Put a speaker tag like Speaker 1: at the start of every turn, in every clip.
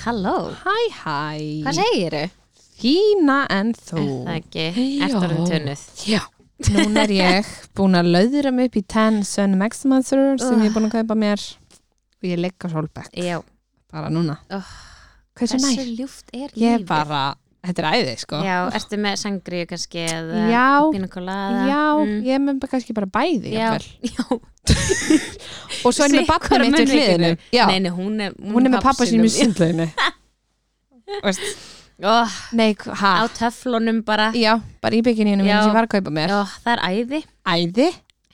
Speaker 1: Halló,
Speaker 2: Hæ, hæ.
Speaker 1: hvað segiru?
Speaker 2: Gína en þú.
Speaker 1: Er það ekki? Ertu orðin tunnuð?
Speaker 2: Já. Núna er ég búin að lauðra mig upp í 10 Sun Maximizer sem ég er búin að kaupa mér og ég legg á Solbeck.
Speaker 1: Já.
Speaker 2: Bara núna.
Speaker 1: Oh,
Speaker 2: Hversu
Speaker 1: Hversu
Speaker 2: nær?
Speaker 1: ljúft er lífið?
Speaker 2: Ég er bara, þetta er æðið sko.
Speaker 1: Já, ertu með sangriðu kannski eða
Speaker 2: Já.
Speaker 1: pínakolada?
Speaker 2: Já, ég er með kannski bara bæði.
Speaker 1: Mm. Já,
Speaker 2: jafnvel.
Speaker 1: já.
Speaker 2: Og svo er ég með
Speaker 1: Sitt hvora
Speaker 2: barnið mitt í
Speaker 1: munnvikinu.
Speaker 2: hliðinu. Já,
Speaker 1: Nei, nei, hún er,
Speaker 2: hún er með pappa sínum í
Speaker 1: sínum.
Speaker 2: sundleginu.
Speaker 1: Oh,
Speaker 2: Nei, hva- ha?
Speaker 1: á töflunum bara.
Speaker 2: Já, bara í byggininu minn
Speaker 1: Já.
Speaker 2: sem ég var að kaupa mér.
Speaker 1: Já, það er æði.
Speaker 2: Æði?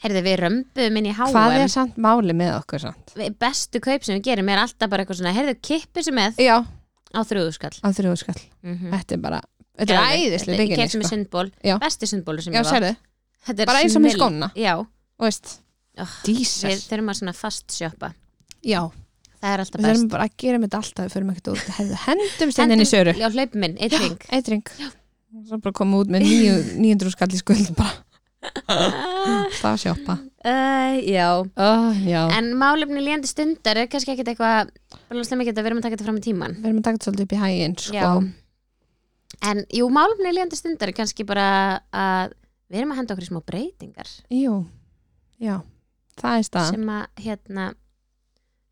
Speaker 1: Herðu, við römbuðum inn í háum.
Speaker 2: Hvað er samt máli með okkur samt?
Speaker 1: Bestu kaup sem við gerum er alltaf bara eitthvað svona, herðu, kippu sem með
Speaker 2: Já,
Speaker 1: á þrjúðuskall.
Speaker 2: á þrjóðskall.
Speaker 1: Mm -hmm.
Speaker 2: Þetta er bara, Mhm. þetta er æðislega
Speaker 1: Ég
Speaker 2: bygginni
Speaker 1: kefti með
Speaker 2: sko.
Speaker 1: sundból,
Speaker 2: Já.
Speaker 1: besti sundból sem
Speaker 2: Já,
Speaker 1: ég var.
Speaker 2: sérðu,
Speaker 1: Þetta er
Speaker 2: bara eins og með
Speaker 1: snill-
Speaker 2: skóna.
Speaker 1: Já,
Speaker 2: Og veist,
Speaker 1: Oh,
Speaker 2: dísel.
Speaker 1: við þurfum að svona fast sjoppa.
Speaker 2: Já,
Speaker 1: Það er alltaf
Speaker 2: við
Speaker 1: best.
Speaker 2: þurfum bara að gera með þetta alltaf, við förum ekkert út. Hefðu hendum stendin í söru.
Speaker 1: Já, hlaupum minn, eitt ring.
Speaker 2: Eitring. Svo bara koma út með níu- 900 skall í skuld bara. Það var sjoppa.
Speaker 1: Uh, já,
Speaker 2: Oh, Ah. já.
Speaker 1: en málefni líðandi stundar er kannski ekkit eitthvað, bara slemmi ekki að við erum að taka þetta fram í tíman.
Speaker 2: Við erum að taka þetta svolítið upp í hæginn, sko.
Speaker 1: Já. En jú, málefni líðandi stundar er kannski bara að við erum að henda okkur í smá breytingar
Speaker 2: Jú, já. Það er staðan.
Speaker 1: sem að, hérna,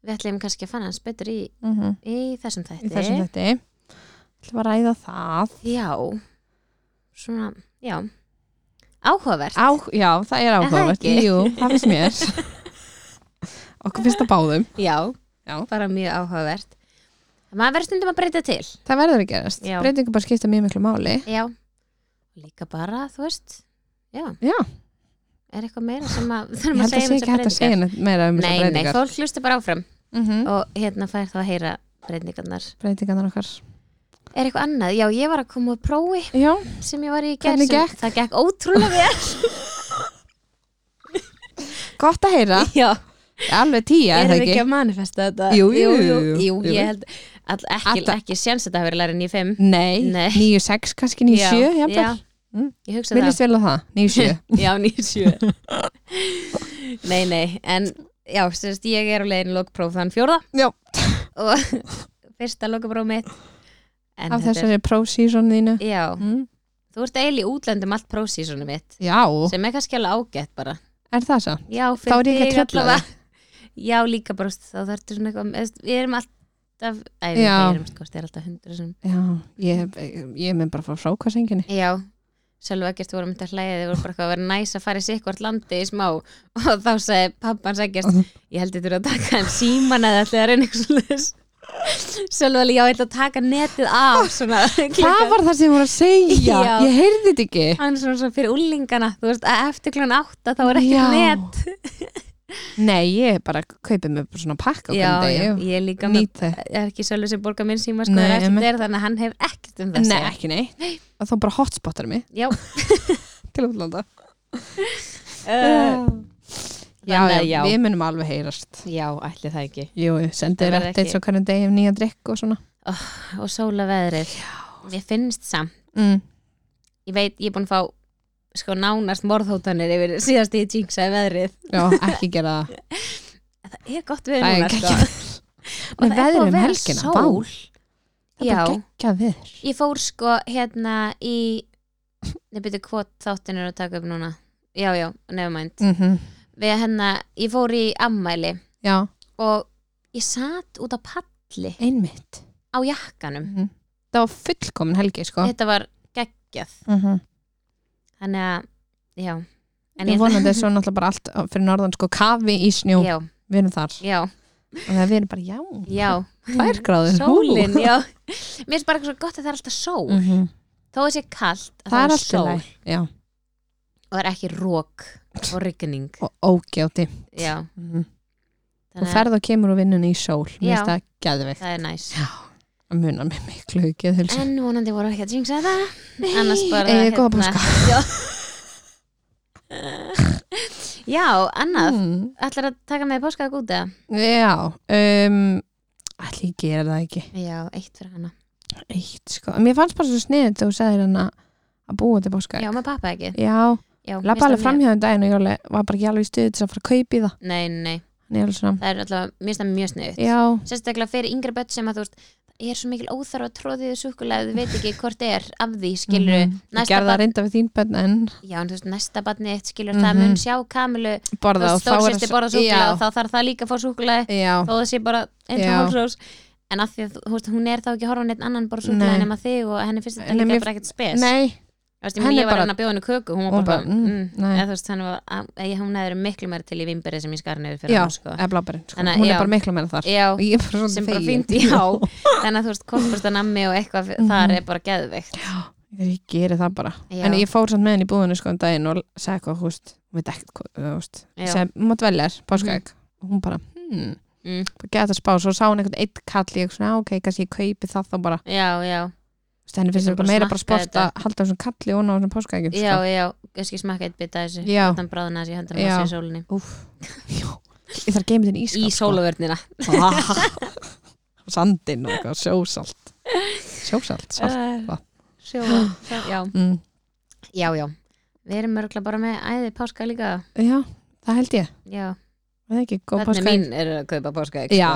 Speaker 1: við ætlum kannski að fanna hans betur í,
Speaker 2: Mm -hmm.
Speaker 1: í þessum þætti.
Speaker 2: Í þessum þetta. Ætlum að ræða það.
Speaker 1: Já, svona, já, áhugavert.
Speaker 2: Á, já, það er
Speaker 1: það
Speaker 2: áhugavert.
Speaker 1: ekki?
Speaker 2: Jú, það finnst mér. Okkur finnst það báðum.
Speaker 1: Já,
Speaker 2: Já.
Speaker 1: bara mjög áhugavert. Maður verður stundum að breyta til.
Speaker 2: Það verður að gerast.
Speaker 1: Já.
Speaker 2: Breytingu bara skipta mjög miklu máli.
Speaker 1: Já. Líka bara, þú veist, já,
Speaker 2: Já,
Speaker 1: er eitthvað meira sem að
Speaker 2: ég
Speaker 1: þurfum að
Speaker 2: held að
Speaker 1: segja um
Speaker 2: sé ekki hægt að segja neitt meira um þessar
Speaker 1: Nei, nei,
Speaker 2: breytingar.
Speaker 1: fólk hlusta bara áfram
Speaker 2: Mm
Speaker 1: og hérna fær þá að heyra breytingarnar.
Speaker 2: Breytingarnar okkar.
Speaker 1: Er eitthvað annað? Já, ég var að koma á prófi
Speaker 2: Já,
Speaker 1: sem ég var í gerð.
Speaker 2: Hvernig gekk?
Speaker 1: Það gekk ótrúlega vel.
Speaker 2: gott að heyra.
Speaker 1: já,
Speaker 2: Alveg tíja, er
Speaker 1: erum
Speaker 2: það
Speaker 1: við ekki
Speaker 2: ekki?
Speaker 1: að manifesta þetta?
Speaker 2: Jú, jú,
Speaker 1: jú,
Speaker 2: jú,
Speaker 1: jú,
Speaker 2: jú.
Speaker 1: ég held all, ekki,
Speaker 2: Alltaf-
Speaker 1: ekki séns að þetta hafi verið læri 9-5.
Speaker 2: Nei,
Speaker 1: Nei.
Speaker 2: 9-6 kannski, 9-7, jafnvel. Mm.
Speaker 1: Ég hugsa
Speaker 2: Mér líst vel á það, 9-7.
Speaker 1: Já, 97 Nei, nei, en já, sérst, ég er á leiðin lokpróf þann fjórða
Speaker 2: Já.
Speaker 1: og fyrsta lokapróf mitt en
Speaker 2: Af
Speaker 1: þetta
Speaker 2: þessari pro-season þínu. Mm.
Speaker 1: er, Já, þú ert eiginlega í útlöndum allt prófsísonu mitt
Speaker 2: Já,
Speaker 1: sem er kannski alveg ágætt bara
Speaker 2: er það svo?
Speaker 1: Já,
Speaker 2: Þá er ég ekki
Speaker 1: þig
Speaker 2: að trufla
Speaker 1: allavega. Já, líka bara, þá þarf þetta svona eitthvað eða, veist, Við erum alltaf, æ, við
Speaker 2: Já.
Speaker 1: erum kosti, er alltaf hundra sem
Speaker 2: Já, ég, ég með bara frá frákvæsenginni.
Speaker 1: Já, Sölva ekkert vorum þetta hlæðið, þið voru bara eitthvað að vera næs að fara í sikkvart landi í smá og þá sagði pappans ekkert, ég held ég þurfa að taka hann síman eða ætlaði að reyna eitthvað slúðis. Sölva alveg, já, ég ætla að taka netið af, svona,
Speaker 2: Það var það sem ég voru að
Speaker 1: Já.
Speaker 2: segja. Ég heyrði þetta ekki.
Speaker 1: hann svona, svona fyrir úlingana, þú veist, að eftir klun átta þá er ekki
Speaker 2: Já.
Speaker 1: net.
Speaker 2: Nei, ég bara kaupið mig bara svona pakka okkur
Speaker 1: Já,
Speaker 2: um
Speaker 1: já,
Speaker 2: degi.
Speaker 1: ég er líka með,
Speaker 2: Nýt þau.
Speaker 1: það er ekki Sölva sem borgar minn síma, sko,
Speaker 2: Nei,
Speaker 1: það er
Speaker 2: einmitt.
Speaker 1: eftir þér, þannig að hann hefur ekkert um það að
Speaker 2: Nei,
Speaker 1: segja.
Speaker 2: ekki nei. Og þá bara hotspottar mig
Speaker 1: Já,
Speaker 2: til útlanda.
Speaker 1: uh,
Speaker 2: Já,
Speaker 1: Þannig
Speaker 2: já,
Speaker 1: að já.
Speaker 2: við munum alveg heyrast.
Speaker 1: já, ætli það ekki.
Speaker 2: Jú, ég sendi
Speaker 1: Það
Speaker 2: þér
Speaker 1: verður
Speaker 2: eftir
Speaker 1: ekki-
Speaker 2: svo hvernig degi um nýja drikk og svona.
Speaker 1: Og sóla veðrið, ég finnst samt.
Speaker 2: Mm.
Speaker 1: ég veit, ég er búin að fá sko nánast morðhótanir yfir síðast ég jinxaði veðrið
Speaker 2: Já, ekki gera það.
Speaker 1: það er gott veður
Speaker 2: Það
Speaker 1: núna
Speaker 2: er
Speaker 1: sko
Speaker 2: geggjað.
Speaker 1: Og
Speaker 2: Með
Speaker 1: það er búið að
Speaker 2: veður um
Speaker 1: vera
Speaker 2: helgina,
Speaker 1: sól.
Speaker 2: vá. Það er
Speaker 1: Já.
Speaker 2: bara geggjað veður.
Speaker 1: ég fór sko hérna í nefnir byrju kvot þáttin er að taka upp núna já, já, nefnmænd
Speaker 2: Mhm.
Speaker 1: við hérna, ég fór í ammæli
Speaker 2: Já,
Speaker 1: og ég satt út á palli
Speaker 2: einmitt.
Speaker 1: á jakkanum
Speaker 2: Mhm. Það var fullkomin helgi, sko.
Speaker 1: þetta var geggjað
Speaker 2: Mm -hmm.
Speaker 1: þannig að, já en
Speaker 2: Ég vonandi þessu náttúrulega bara allt fyrir norðan, sko, kafi í snjó.
Speaker 1: já,
Speaker 2: Við erum þar.
Speaker 1: já,
Speaker 2: Og það við erum bara, já,
Speaker 1: já,
Speaker 2: tvær gráður. hú.
Speaker 1: Mm. sólin já, mér finnst bara eitthvað svo gott að það er alltaf sól
Speaker 2: Mhm.
Speaker 1: þó að sé kallt að
Speaker 2: Það er alltaf
Speaker 1: sól
Speaker 2: læg. Já,
Speaker 1: og er ekki rók og rigning
Speaker 2: og ógjáti.
Speaker 1: já,
Speaker 2: Mm. Og
Speaker 1: þannig að
Speaker 2: ferð og kemur og vinnun í sól. Mér
Speaker 1: Já.
Speaker 2: finnst það geðveikt.
Speaker 1: það er næs
Speaker 2: Það munar mér miklu geðhilsu.
Speaker 1: en vonandi voru ekki að jinxa það annars bara hérna-
Speaker 2: eigið góða páska.
Speaker 1: já. já, annað
Speaker 2: Mm.
Speaker 1: ætlar að taka með páskaða gúta
Speaker 2: Já, um, allir gera það ekki
Speaker 1: já, eitt fyrir hana
Speaker 2: eitt sko, mér fannst bara svo sniðið þegar þú sagðir hann að að búa til
Speaker 1: já,
Speaker 2: páskaegg
Speaker 1: með pappa ekki
Speaker 2: Já,
Speaker 1: já,
Speaker 2: lappa alveg framhjáðum daginn og ég alveg, var bara ekki alveg í stuði til þess að fara að kaupi það
Speaker 1: nei, nei, nei,
Speaker 2: Þannig ég alveg svona,
Speaker 1: það er alltaf mér finnst það mjög sniðut
Speaker 2: já,
Speaker 1: sérstaklega fyrir yngri börn sem að þú veist ég er svo mikil óþarfa að tróðið súkulega þau veit ekki hvort er af því skilur
Speaker 2: Mhm. Ég gerði það reynda við þín bönn en
Speaker 1: já en þú veist næsta batni eitt skilur það
Speaker 2: Mhm.
Speaker 1: mun sjá kamilu
Speaker 2: borða og þá er
Speaker 1: stórsýsti borða súkulega og
Speaker 2: Já,
Speaker 1: þá þarf það líka að fá súkulega
Speaker 2: já,
Speaker 1: þó það sé bara eins og
Speaker 2: Já.
Speaker 1: hálfsós en af því að þú veist, hún er þá ekki að horfa á neitt annan bara súkulega
Speaker 2: Nei.
Speaker 1: nema þig og henni finnst þetta
Speaker 2: Nei,
Speaker 1: líka
Speaker 2: mér-
Speaker 1: bara ekkert spes
Speaker 2: nei
Speaker 1: Þú veist, ég meina,
Speaker 2: Henni
Speaker 1: ég var
Speaker 2: bara-
Speaker 1: enn að bjóða henni köku hún var
Speaker 2: Hún
Speaker 1: bara,
Speaker 2: bara,
Speaker 1: mm,
Speaker 2: mm,
Speaker 1: mm,
Speaker 2: nei.
Speaker 1: eða, þú veist, hann var, að, ég, hún hefði verið miklu meira til í vimberið sem ég skar niður fyrir
Speaker 2: Já,
Speaker 1: hann sko.
Speaker 2: eða blábærin, sko.
Speaker 1: Þannig að-
Speaker 2: hún
Speaker 1: já.
Speaker 2: er bara miklu meira þar
Speaker 1: já,
Speaker 2: og ég er bara svona
Speaker 1: sem bara
Speaker 2: fegin.
Speaker 1: fínt, já þannig að þú veist, korpust að nammi og eitthvað mm
Speaker 2: Mhm.
Speaker 1: þar er bara geðveikt
Speaker 2: ég geri það bara
Speaker 1: Já.
Speaker 2: en ég fór samt með henni í búðinu sko um daginn og sagði eitthvað, þú veist, hún veit ekkert hvað, þú veist,
Speaker 1: Já. Mhm.
Speaker 2: sem mátt veljar, páskaegg og hún bara, hmm,
Speaker 1: Mm.
Speaker 2: bara geta að spá svo sá hún einhvern eitt kall, ég svona, "Ah, ok, kannski ég kaupi það þá bara,
Speaker 1: já, já,
Speaker 2: þú veist, henni finnst
Speaker 1: Getur
Speaker 2: þetta
Speaker 1: bara
Speaker 2: meira bara
Speaker 1: smakkað
Speaker 2: sport að halda þessum kalli og ná þessum páskaeggjum
Speaker 1: já,
Speaker 2: sko.
Speaker 1: já kannski smakka eitt bita af þessu
Speaker 2: Já.
Speaker 1: þannig bráðina þessi hendur hann
Speaker 2: Já.
Speaker 1: þessi í sólinni
Speaker 2: Úff. Já. ég þarf að geyma sko. þinn
Speaker 1: í
Speaker 2: ískap
Speaker 1: sólavörnina
Speaker 2: og sandinn og eitthvað, sjósalt sjósalt, salt
Speaker 1: Uh,
Speaker 2: vatn.
Speaker 1: sjóla, já,
Speaker 2: mm.
Speaker 1: já, já við erum örgla bara með æði páska líka
Speaker 2: já, það held ég,
Speaker 1: já,
Speaker 2: það er ekki góð
Speaker 1: hvernig
Speaker 2: páskaegg
Speaker 1: mín er að kaupa páska ekki,
Speaker 2: já,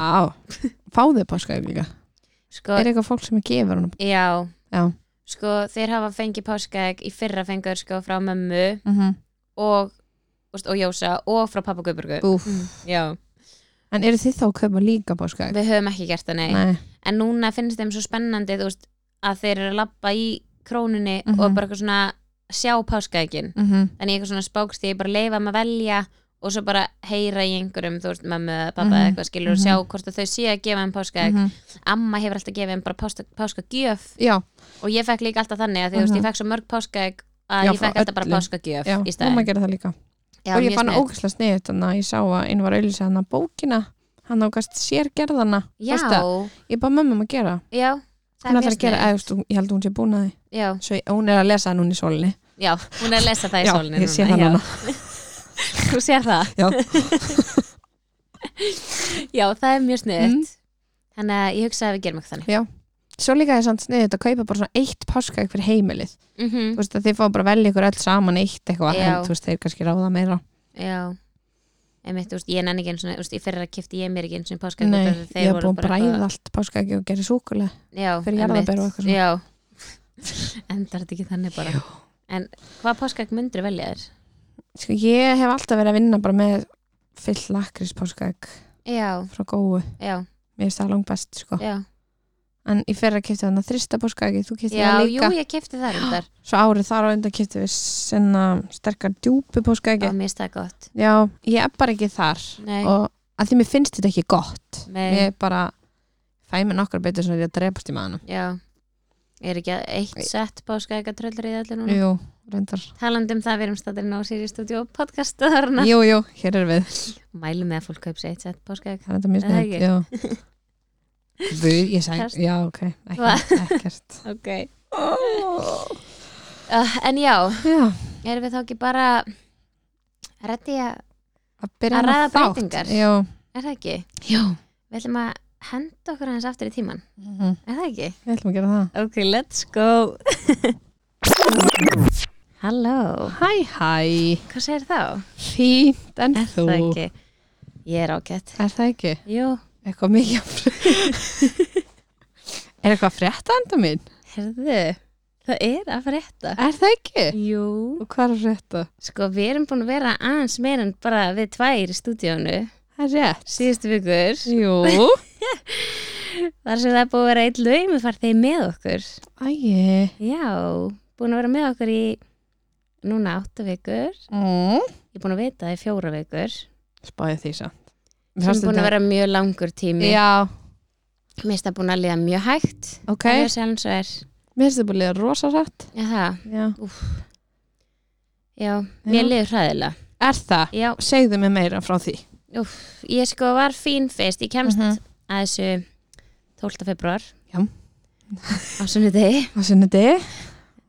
Speaker 2: fáðu páskaegg líka
Speaker 1: sko,
Speaker 2: er eitthvað fólk sem gefur honum
Speaker 1: já
Speaker 2: Já.
Speaker 1: sko, þeir hafa fengið páskaegg í fyrra fengur sko frá mömmu
Speaker 2: mm
Speaker 1: og, og, og Jósa og frá pappa Guðburgu já,
Speaker 2: En eru þið þá að kaupa líka páskaegg?
Speaker 1: við höfum ekki gert það nei.
Speaker 2: Nei.
Speaker 1: en núna finnst þeim svo spennandi þú veist, að þeir eru að labba í krónunni
Speaker 2: Mhm.
Speaker 1: og bara eitthvað svona sjá páskaeggin
Speaker 2: Mm -hmm.
Speaker 1: þannig eitthvað svona spókst ég bara leifa um að velja og svo bara heyra í einhverjum þú veist, mömmu eða pappa eða
Speaker 2: Mhm.
Speaker 1: eitthvað skilur og
Speaker 2: Mhm.
Speaker 1: sjá hvort að þau séu að gefa um páskaegg amma hefur alltaf gefið um bara páska, páska
Speaker 2: Já,
Speaker 1: og ég fekk líka alltaf þannig að því, þú veist, ég fekk svo mörg páskaegg að
Speaker 2: Mhm. Já,
Speaker 1: ég
Speaker 2: frá
Speaker 1: fekk alltaf bara
Speaker 2: öllum.
Speaker 1: páskagjöf
Speaker 2: já, Oh
Speaker 1: í
Speaker 2: mamma
Speaker 1: stæðin
Speaker 2: gerði það líka
Speaker 1: já,
Speaker 2: og ég
Speaker 1: mjög
Speaker 2: fann
Speaker 1: sniðugt.
Speaker 2: ógæslega sniðut þannig að ég sá að einu var auðvitað hann að bókina hann ágast sér gerðana Veistu það?
Speaker 1: já,
Speaker 2: Ég bað mömmum að gera
Speaker 1: já, það
Speaker 2: Hún
Speaker 1: er
Speaker 2: ætlar
Speaker 1: mjög
Speaker 2: að gera,
Speaker 1: sniðugt.
Speaker 2: eða, þú veist, ég held að hún sé búin að því
Speaker 1: já,
Speaker 2: Svo ég, hún er að lesa hann hún í sólinni
Speaker 1: já, hún er að lesa það í
Speaker 2: Já,
Speaker 1: sólinu
Speaker 2: ég sé það núna
Speaker 1: þú sér það
Speaker 2: Já.
Speaker 1: já, það er mjög sniðt
Speaker 2: Mhm.
Speaker 1: þannig að ég hugsa að við gerum ekki þannig
Speaker 2: Svo líka er samt sniðut að kaupa bara svona eitt páskaegg fyrir heimilið
Speaker 1: mm
Speaker 2: Þú veist að þið fá bara að velja ykkur öll saman eitt eitthvað
Speaker 1: Já.
Speaker 2: en þú veist þeir kannski ráða meira
Speaker 1: já Einmitt, úst, ég nenni ekki eins og í fyrra kifti ég mér ekki eins og páskagjöf
Speaker 2: Nei, ég hef búin að bræða allt páskaegg og gera súkulega
Speaker 1: já,
Speaker 2: fyrir jarðarber og
Speaker 1: einmitt,
Speaker 2: eitthvað svona.
Speaker 1: já, endar þetta ekki þannig bara en hvað páskagjöf myndir velja þér?
Speaker 2: Sko, ég hef alltaf verið að vinna bara með fyll lakris páskaegg
Speaker 1: Já,
Speaker 2: frá góðu,
Speaker 1: já,
Speaker 2: mér finnst það langt best sko.
Speaker 1: já.
Speaker 2: en í fyrra kipti þannig að þrista páskaeggi þú kipti
Speaker 1: Já,
Speaker 2: það
Speaker 1: jú,
Speaker 2: líka
Speaker 1: ég kefti það reyndar.
Speaker 2: svo árið þar á undan kipti við senna sterkar djúpu
Speaker 1: Já,
Speaker 2: páskaeggi
Speaker 1: mér finnst það gott.
Speaker 2: já, ég er bara ekki þar
Speaker 1: Nei,
Speaker 2: og að því mér finnst þetta ekki gott
Speaker 1: Nei.
Speaker 2: mér er bara fæ mér nokkar betur sem er ég að drepast í maðanum
Speaker 1: já. Er ekki eitt sett páskaega tröllur í allir núna?
Speaker 2: jú, reyndar,
Speaker 1: Talandi um það, við erum stættirinn á Siri Studio podcastaðarna.
Speaker 2: jú, jú, hér er við
Speaker 1: Mælum með að fólk kaup sér eitt sett páskaega.
Speaker 2: það er þetta mjög
Speaker 1: Er það
Speaker 2: snöð jú Við, ég sæn,
Speaker 1: Kast.
Speaker 2: já, ok,
Speaker 1: Hva?
Speaker 2: ekkert, ekkert.
Speaker 1: Ok. Uh, en já,
Speaker 2: Já,
Speaker 1: erum við þá ekki bara reddi að,
Speaker 2: að byrja
Speaker 1: Að
Speaker 2: annað
Speaker 1: ræða
Speaker 2: þátt.
Speaker 1: breytingar.
Speaker 2: já,
Speaker 1: er það ekki?
Speaker 2: já.
Speaker 1: Við ætlum að henda okkur aðeins aftur í tíman. Er það ekki?
Speaker 2: Mhm. við ætlum að gera það
Speaker 1: Ok, let's go. Halló,
Speaker 2: hæ hæ,
Speaker 1: hvað segir þá?
Speaker 2: fínt en
Speaker 1: Er
Speaker 2: þú
Speaker 1: það ekki? Ég er ágætt.
Speaker 2: er það ekki,
Speaker 1: Jú,
Speaker 2: eitthvað mikið að frétta? er eitthvað að frétta enda mín
Speaker 1: herðu, það er að frétta.
Speaker 2: er það ekki,
Speaker 1: Jú.
Speaker 2: og hvað er að frétta
Speaker 1: Sko, við erum búin að vera aðeins meira en bara við tvær í stúdíónu
Speaker 2: það er rétt,
Speaker 1: síðustu vikur.
Speaker 2: jú
Speaker 1: Þar sem það er búin að vera eitt laumufarþegi með okkur.
Speaker 2: ægi
Speaker 1: Já, búin að vera með okkur í núna átta vikur.
Speaker 2: mm.
Speaker 1: Ég er búin að vita það í fjóra vikur.
Speaker 2: spáði því samt
Speaker 1: Sem
Speaker 2: Mér
Speaker 1: er
Speaker 2: fannst
Speaker 1: búin
Speaker 2: þetta-
Speaker 1: að vera mjög langur tími.
Speaker 2: já,
Speaker 1: Mér finnst það búin að liða mjög hægt.
Speaker 2: ok,
Speaker 1: Það
Speaker 2: mér
Speaker 1: er sjálfins og er.
Speaker 2: finnst þetta búin að liða rosa rætt
Speaker 1: Já, það.
Speaker 2: já.
Speaker 1: Já, mér liður hræðilega.
Speaker 2: er það,
Speaker 1: Já,
Speaker 2: segðu mig meira frá því
Speaker 1: Úf, ég sko var fín fyrst, ég kemst
Speaker 2: Mhm.
Speaker 1: að þessu 12. februar
Speaker 2: Já.
Speaker 1: á sunnudegi
Speaker 2: það sinni þið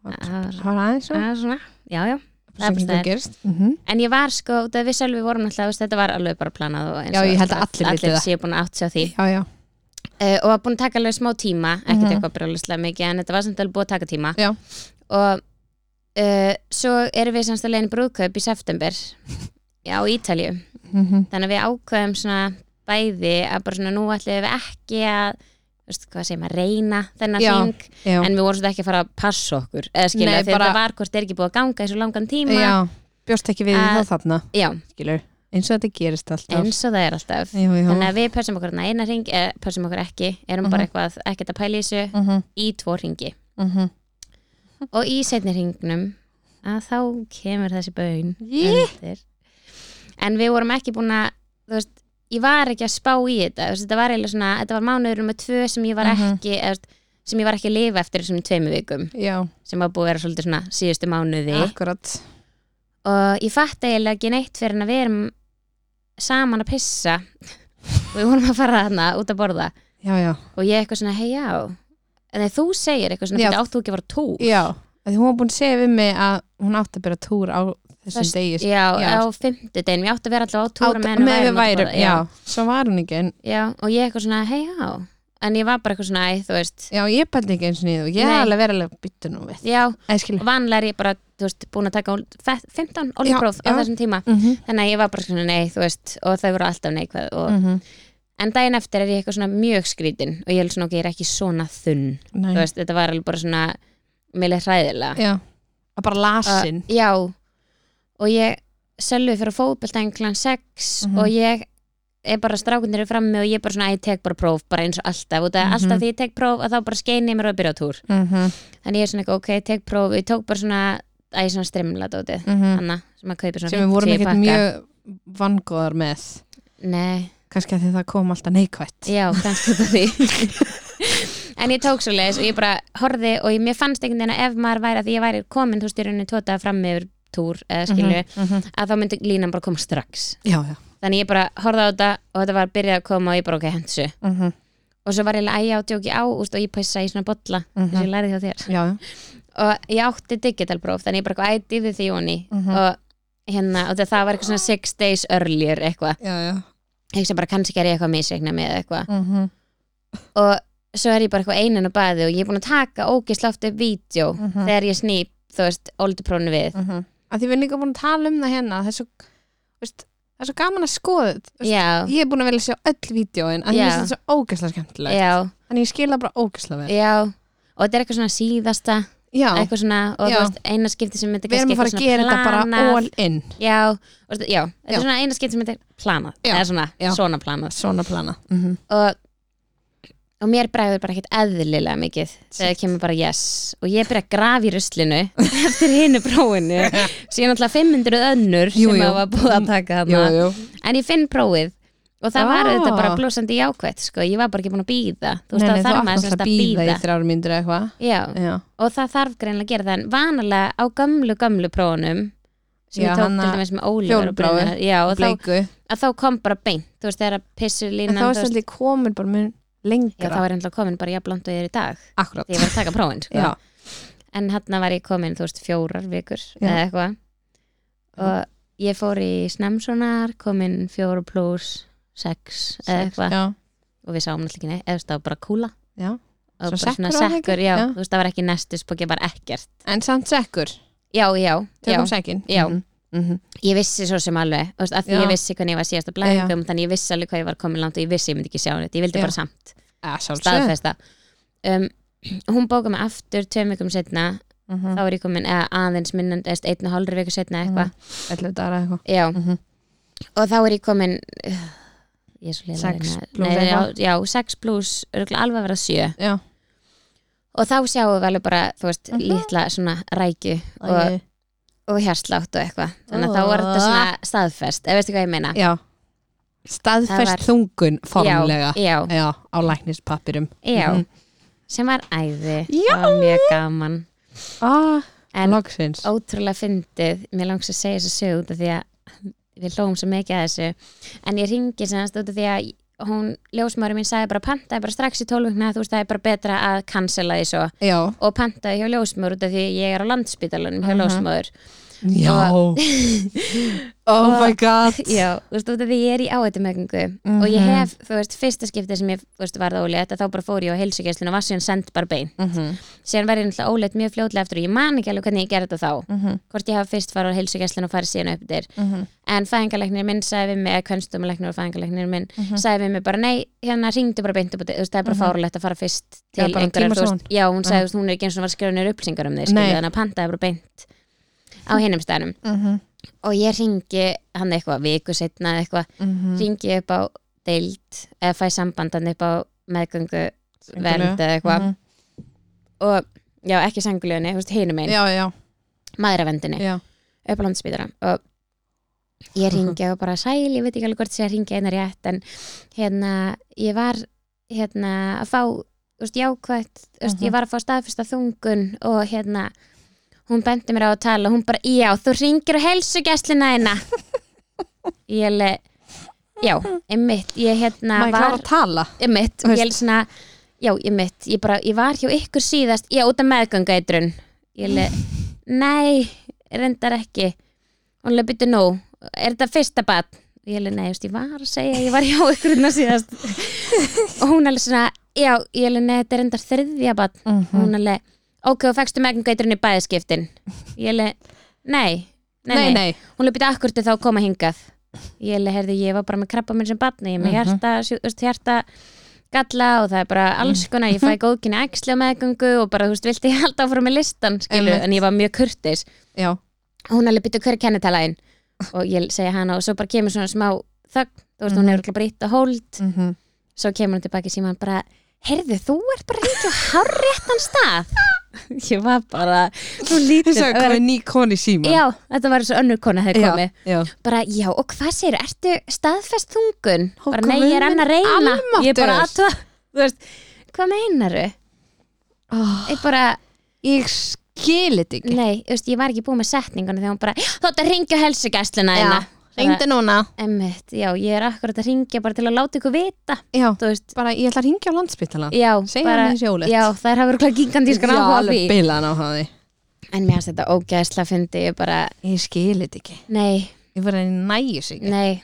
Speaker 1: Það var-
Speaker 2: var aðeins
Speaker 1: að svona, já, já
Speaker 2: sem
Speaker 1: það
Speaker 2: þetta
Speaker 1: er-
Speaker 2: gerist mhm.
Speaker 1: en ég var sko, út af við sjálf við vorum alltaf veist, þetta var alveg bara planað og eins
Speaker 2: Já,
Speaker 1: og
Speaker 2: ég held að allir viti
Speaker 1: allir
Speaker 2: það.
Speaker 1: séu búin að átt sér því
Speaker 2: já, já,
Speaker 1: uh, og var búin að taka alveg smá tíma ekkert
Speaker 2: Mhm.
Speaker 1: eitthvað brjóðlislega mikið en þetta var samt alveg búin að taka tíma
Speaker 2: Já.
Speaker 1: og uh, svo erum við samst að leiðin brúðkaup í september á Ítalju
Speaker 2: mhm.
Speaker 1: þannig að við ákveðum svona bæði að bara svona nú ætlum við ekki að þú veist, hvað segir maður, reyna þennan
Speaker 2: Já,
Speaker 1: hring
Speaker 2: já,
Speaker 1: en við vorum svolítið ekki að fara að passa okkur eða skilja,
Speaker 2: Nei,
Speaker 1: þegar
Speaker 2: bara-
Speaker 1: þetta var hvort er ekki búið að ganga í svo langan tíma
Speaker 2: já bjóst ekki við
Speaker 1: Að-
Speaker 2: uh, þá þarna
Speaker 1: Já,
Speaker 2: skilur, eins og þetta gerist alltaf
Speaker 1: eins og það er alltaf
Speaker 2: jú, jú.
Speaker 1: þannig að við pössum okkur hérna eina hring eða pössum okkur ekki, erum bara eitthvað ekkert að pæla í þessu
Speaker 2: mm -hmm,
Speaker 1: í tvo hringi
Speaker 2: mhm.
Speaker 1: og í setni hringnum að þá kemur þessi bön
Speaker 2: Jé.
Speaker 1: undir. en við vorum ekki búin að þú veist, ég var ekki að spá í þetta þú veist, þetta var eiginlega svona, þetta var mánuður nummer tvö sem ég var
Speaker 2: Mhm.
Speaker 1: ekki eða, þú veist, sem ég var ekki að lifa eftir þessum tveimu vikum
Speaker 2: já,
Speaker 1: sem var búið að vera svolítið svona síðustu mánuði
Speaker 2: akkurat
Speaker 1: og ég fatt eiginlega ekki neitt fyrir en að við erum saman að pissa og við vorum að fara þarna út að borða
Speaker 2: já, já,
Speaker 1: og ég eitthvað svona, hei já en þegar þú segir eitthvað svona,
Speaker 2: Já.
Speaker 1: "Bíddu, átt þú ekki að fara á túr
Speaker 2: já að því hún var búin að segja við mig að hún átti að byrja túr á þessum
Speaker 1: Föst-
Speaker 2: degi sko.
Speaker 1: já,
Speaker 2: Já.
Speaker 1: á fimmtudegin, ég átti að vera alltaf á
Speaker 2: Á-
Speaker 1: túra meðan
Speaker 2: meðan við værum,
Speaker 1: náttúrulega,
Speaker 2: já, svo var hún ekki en,
Speaker 1: já, og ég eitthvað svona, hei já en ég var bara eitthvað svona, æ, þú veist
Speaker 2: já, ég pældi ekki eins og niður ég er
Speaker 1: Nei.
Speaker 2: alveg verið alveg byttu nú við
Speaker 1: já,
Speaker 2: eða skilur
Speaker 1: og vanlega er ég bara, þú veist, búin að taka ól- fe- 15 olípróf á
Speaker 2: já.
Speaker 1: þessum tíma
Speaker 2: mm -hmm.
Speaker 1: þannig að ég var bara svona, nei, þú veist og þau voru alltaf neikvæð og,
Speaker 2: mhm.
Speaker 1: en daginn eftir er ég eitthvað svona mjög skrítin og ég er svona, ok, ég er ekki svona þunn þú
Speaker 2: Nei,
Speaker 1: veist, þetta var alveg bara svona meðlega hræðilega
Speaker 2: já að bara lasin
Speaker 1: Uh, já, og ég selvi fyrir fótbeltæðin klan 6
Speaker 2: Mhm.
Speaker 1: og ég er bara strákundir frammi og ég er bara svona, að ég tek bara próf bara eins og alltaf, út af
Speaker 2: Mhm.
Speaker 1: alltaf því ég tek próf að þá bara skeini mér og byrja á túr
Speaker 2: mm -hmm.
Speaker 1: þannig ég er svona, eitthvað, ok, ég tek próf, ég tók bara svona að ég svona strimla dótið Hanna, sem að kaupa svona
Speaker 2: Mhm. sem við vorum
Speaker 1: 50
Speaker 2: ekkert
Speaker 1: pakka.
Speaker 2: mjög vangóðar með
Speaker 1: Nei,
Speaker 2: kannski að því það kom alltaf neikvætt
Speaker 1: já, kannski þetta því En ég tók svo leiðis og ég bara horfði og ég, mér fannst einhvern veginn að ef maður væri að því ég væri komin, þú veist, í rauninni tótað fram yfir túr eða
Speaker 2: Mhm,
Speaker 1: skilju, að þá myndi línan bara koma strax
Speaker 2: já, já
Speaker 1: þannig ég bara horfði á þetta og þetta var byrjað að koma og ég bara ok, hensu
Speaker 2: mm -hmm.
Speaker 1: og svo var ég að æja og djóki á úst, og ég pæsa í svona bolla
Speaker 2: Mhm.
Speaker 1: þess að ég lærið hjá þér
Speaker 2: já, já.
Speaker 1: og ég átti digitalpróf, þannig ég bara eitthvað ætiði því honi
Speaker 2: Mhm.
Speaker 1: og hérna, og það- það var eitthvað svona six days earlier eitthvað,
Speaker 2: já, já.
Speaker 1: ég sem bara kannski er ég eitthvað misreikna með eða eitthvað
Speaker 2: Mm -hmm.
Speaker 1: og svo er ég bara eitthvað einin á baði og ég er búin að taka ógisla oft upp vídeo
Speaker 2: Mhm.
Speaker 1: þegar ég snýp, þú veist, olduprónu við
Speaker 2: að mhm. því við erum líka búin að tala um það hérna það er svo, veist, það er svo gaman að skoða þetta, þú veist,
Speaker 1: já,
Speaker 2: ég er búin að velja að sjá öll vídjóin að því
Speaker 1: Já.
Speaker 2: mér finnst þetta svo ógæslega skemmtilegt
Speaker 1: já,
Speaker 2: þannig ég skila bara ógæslega vel
Speaker 1: já og þetta er eitthvað svona síðasta
Speaker 2: já,
Speaker 1: eitthvað svona, og
Speaker 2: Já.
Speaker 1: þú veist, eina skipti sem þetta
Speaker 2: við erum að fara að gera þetta bara all in
Speaker 1: já, og, þetta- já, þetta
Speaker 2: Já.
Speaker 1: er svona eina skipti sem þetta er planað,
Speaker 2: Já.
Speaker 1: eða svona,
Speaker 2: Já.
Speaker 1: svona planað
Speaker 2: svona plana mm -hmm.
Speaker 1: og, og mér bregður bara ekkert eðlilega mikið þegar það kemur bara yes og ég byrja að grafa í ruslinu eftir hinu prófinu síðan alltaf 500 önnur
Speaker 2: Jú,
Speaker 1: sem
Speaker 2: jú.
Speaker 1: það var búið að taka
Speaker 2: jú,
Speaker 1: þarna
Speaker 2: jú.
Speaker 1: en ég finn prófið og það var
Speaker 2: Ah.
Speaker 1: auðvitað bara blósandi jákvætt sko, ég var bara ekki búin að býða þú veist
Speaker 2: Nei, nei,
Speaker 1: það
Speaker 2: þú
Speaker 1: þarf
Speaker 2: átt
Speaker 1: maður
Speaker 2: náttúrulega
Speaker 1: semst
Speaker 2: að
Speaker 1: að
Speaker 2: býða í
Speaker 1: býða
Speaker 2: þrjár mínútur eða eitthvað
Speaker 1: já,
Speaker 2: já,
Speaker 1: og það þarf greinlega að gera það en vanalega á gömlu gömlu prófunum sem
Speaker 2: Já,
Speaker 1: ég tók
Speaker 2: hana-
Speaker 1: til dæmis með Ólífur og
Speaker 2: fjólubláu,
Speaker 1: Brynjar, já, og þá,
Speaker 2: bleiku
Speaker 1: að þá kom bara beint þú veist þegar að pissu
Speaker 2: en
Speaker 1: línan
Speaker 2: þá er
Speaker 1: þú veist,
Speaker 2: svolítið komin bara mun
Speaker 1: já, þá
Speaker 2: lengra
Speaker 1: er ennlega komin bara jafnblant og ég er í dag
Speaker 2: akkurat
Speaker 1: því ég var að taka prófin sko.
Speaker 2: já,
Speaker 1: en hann var ég komin þú veist fjórar vikur
Speaker 2: Já. Mhm.
Speaker 1: eða eitthvað og ég fór í snemsonar komin fjóru pluss sex eða eitthvað
Speaker 2: já,
Speaker 1: og við sáum náttúrulega ekki neitt, eða þú veist, það var bara kúla
Speaker 2: já.
Speaker 1: og
Speaker 2: Svo
Speaker 1: bara svona
Speaker 2: sekkur á það ekki?
Speaker 1: sekkur, já,
Speaker 2: Já.
Speaker 1: þú veist, það var ekki nestus og ég var ekkert,
Speaker 2: en samt sekkur,
Speaker 1: já, já, já
Speaker 2: tökum sekkin
Speaker 1: Já.
Speaker 2: mm -hmm.
Speaker 1: ég vissi svo sem alveg, þú veist, að því
Speaker 2: Já.
Speaker 1: ég vissi hvernig ég var síðast að blæðingum, þannig ég vissi alveg hvað ég var komin langt og ég vissi ég myndi ekki sjá neitt, ég vildi
Speaker 2: Já.
Speaker 1: bara samt
Speaker 2: sjálfsög
Speaker 1: staðfesta um, hún bóka mig aftur tveim vikum setna,
Speaker 2: Mhm.
Speaker 1: þá er ég komin eða, aðeins minnan, eða einn og hálfri viku setna eitthvað,
Speaker 2: 11 dagar eitthvað
Speaker 1: já
Speaker 2: Mhm.
Speaker 1: og þá er ég komin uh, ég er svo leiða
Speaker 2: Sex plús
Speaker 1: Nei, já,
Speaker 2: eitthvað.
Speaker 1: já, sex pluss, alveg að vera sjö
Speaker 2: já,
Speaker 1: og þá sjáum við alveg bara, þú veist,
Speaker 2: Mhm.
Speaker 1: litla svona rækju og,
Speaker 2: og,
Speaker 1: og hjarslátt og eitthvað þannig að þá var þetta svona staðfest eða veistu hvað ég meina
Speaker 2: já.
Speaker 1: Það
Speaker 2: staðfest
Speaker 1: var-
Speaker 2: þungun formlega
Speaker 1: já, já,
Speaker 2: Já, á læknispappirum
Speaker 1: já
Speaker 2: Mhm.
Speaker 1: sem var æði,
Speaker 2: Já.
Speaker 1: það var mjög gaman
Speaker 2: ah,
Speaker 1: en
Speaker 2: loksins
Speaker 1: ótrúlega fyndið mér langs að segja þessu sög út af því að við hlóum svo mikið að þessu en ég ringi semast út af því að hún ljósmári mín sagði bara pantaði bara strax í tólfungna þú veist það er bara betra að cancela því svo
Speaker 2: já,
Speaker 1: og pantaði hjá ljósmóður út af því að ég er á landspítalunum hjá
Speaker 2: Mhm.
Speaker 1: ljósmóður
Speaker 2: Já,
Speaker 1: Og-
Speaker 2: oh my god
Speaker 1: Já, þú veist, út af því ég er í áhættumögningu
Speaker 2: Mhm.
Speaker 1: og ég hef, þú veist, fyrsta skiptið sem ég þú veist, varð ólétt að þá bara fór ég á heilsugjæslinu og var síðan send bara bein.
Speaker 2: Mhm,
Speaker 1: Síðan var ég náttúrulega ólétt mjög fljótlega eftir og ég man ekki alveg hvernig ég gerði þetta þá.
Speaker 2: mhm,
Speaker 1: Hvort ég hafa fyrst farið á heilsugjæslinu og farið síðan upp dyr.
Speaker 2: mhm,
Speaker 1: En fæðingarleiknir minn sagði við mig, eða kvenstumleiknir og fæðingarleiknir minn
Speaker 2: mhm.
Speaker 1: sagði við mig bara, nei, hérna ringdu bara beint upp á dyr, þú veist, það er bara
Speaker 2: Mhm.
Speaker 1: fárulegt að fara fyrst
Speaker 2: Já,
Speaker 1: til
Speaker 2: bara
Speaker 1: einhverjar,
Speaker 2: tíma
Speaker 1: þú veist,
Speaker 2: saman.
Speaker 1: já, hún sagði, þú veist, hún er ekki eins og var skrifunir upplýsingar um þig, skilju,
Speaker 2: Nei.
Speaker 1: þannig að pantaði bara beint á hinum stæðnum
Speaker 2: Mhm,
Speaker 1: og ég ringi hann eitthvað viku setna eða eitthvað
Speaker 2: mhm.
Speaker 1: ringi upp á deild eða fæ sambandan upp á meðgöngu vernd eða eitthvað
Speaker 2: Mhm.
Speaker 1: og já, ekki sangulegunni, þú veist, hinum einn
Speaker 2: Já, já,
Speaker 1: maðuravendinni,
Speaker 2: já
Speaker 1: upp á landspítara og ég ringi og bara sæl, ég veit ekki alveg hvort sé að ringi einar rétt en hérna, ég var hérna að fá, þú veist, jákvætt þú veist, ég
Speaker 2: Mhm.
Speaker 1: var að fá staðfesta þungun og hérna hún bendi mér á að tala og hún bara, já, þú ringir á helsugæslina eina ég leið já, einmitt, ég hérna
Speaker 2: Maður
Speaker 1: var
Speaker 2: klára að tala
Speaker 1: ég mitt,
Speaker 2: Þú
Speaker 1: ég
Speaker 2: veist.
Speaker 1: er svona já, ég mitt, ég bara, ég var hjá ykkur síðast já, út af meðgangaitrun ég le, nei, reyndar ekki hún leið byttu nú er þetta fyrsta bat? ég leið, nei, þú veist, ég var að segja, ég var hjá ykkur hérna síðast og hún alveg svona já, ég leið, nei, þetta er reyndar þriðja bat og hún alveg, ok, og fækstu meðgangaitrun í bæðiskiptin ég leið, nei, nei, nei,
Speaker 2: nei
Speaker 1: hún leið byttu akkur til þá að koma hingað ég leið, heyrði, ég var bara með krabba minn sem batni, ég er með
Speaker 2: Mhm.
Speaker 1: hjarta, sjú- þú veist, hjarta galla og það er bara
Speaker 2: Mm.
Speaker 1: alls konar ég fæ góðkynni æxli á meðgöngu og bara, þú veist, vilti ég halda áfram með listan skilu,
Speaker 2: Einmitt.
Speaker 1: en ég var mjög kurtis
Speaker 2: Já,
Speaker 1: hún alveg byttu hverju kennitalægin og ég segja hana og svo bara kemur svona smá þögn, þú veist, hún
Speaker 2: Mhm.
Speaker 1: er örugglega bara brýtt að hold
Speaker 2: mhm
Speaker 1: svo kemur hún tilbaki síma bara heyrðu, þú ert bara reynd og hárréttan stað ég var bara, þú
Speaker 2: Þú
Speaker 1: lítið að
Speaker 2: sagði hvað
Speaker 1: vera-
Speaker 2: er ný koni síma
Speaker 1: Já, þetta var eins og önnur kona þegar komið
Speaker 2: já.
Speaker 1: bara, já, og hvað segir, ertu staðfest þungun?
Speaker 2: Ó,
Speaker 1: bara,
Speaker 2: guð
Speaker 1: nei, ég er enn að
Speaker 2: minn
Speaker 1: reyna ég er bara
Speaker 2: almáttugur.
Speaker 1: aðtva, þú veist hvað meinaru? Ég bara,
Speaker 2: Ég skil þetta ekki
Speaker 1: nei, þú veist, ég var ekki búin með setningunum þegar hún bara, "Já, þú ætti að ringja helsugæslina
Speaker 2: Já,
Speaker 1: hérna
Speaker 2: Hringdu núna
Speaker 1: Emmitt, já, ég er akkurat að ringja bara til að láta ykkur vita,
Speaker 2: Já,
Speaker 1: þú veist
Speaker 2: bara ég ætla að ringja á landspítala
Speaker 1: Já,
Speaker 2: Segja
Speaker 1: bara,
Speaker 2: henni þessi ólétt.
Speaker 1: já það er að vera gíkandi
Speaker 2: Já,
Speaker 1: skan áhuga á
Speaker 2: alveg
Speaker 1: því
Speaker 2: bilaðan á hafði
Speaker 1: En mér finnst þetta ógæðsla fyndi, ég bara,
Speaker 2: Ég skil þetta ekki
Speaker 1: nei,
Speaker 2: Ég var að næja sig ekki
Speaker 1: nei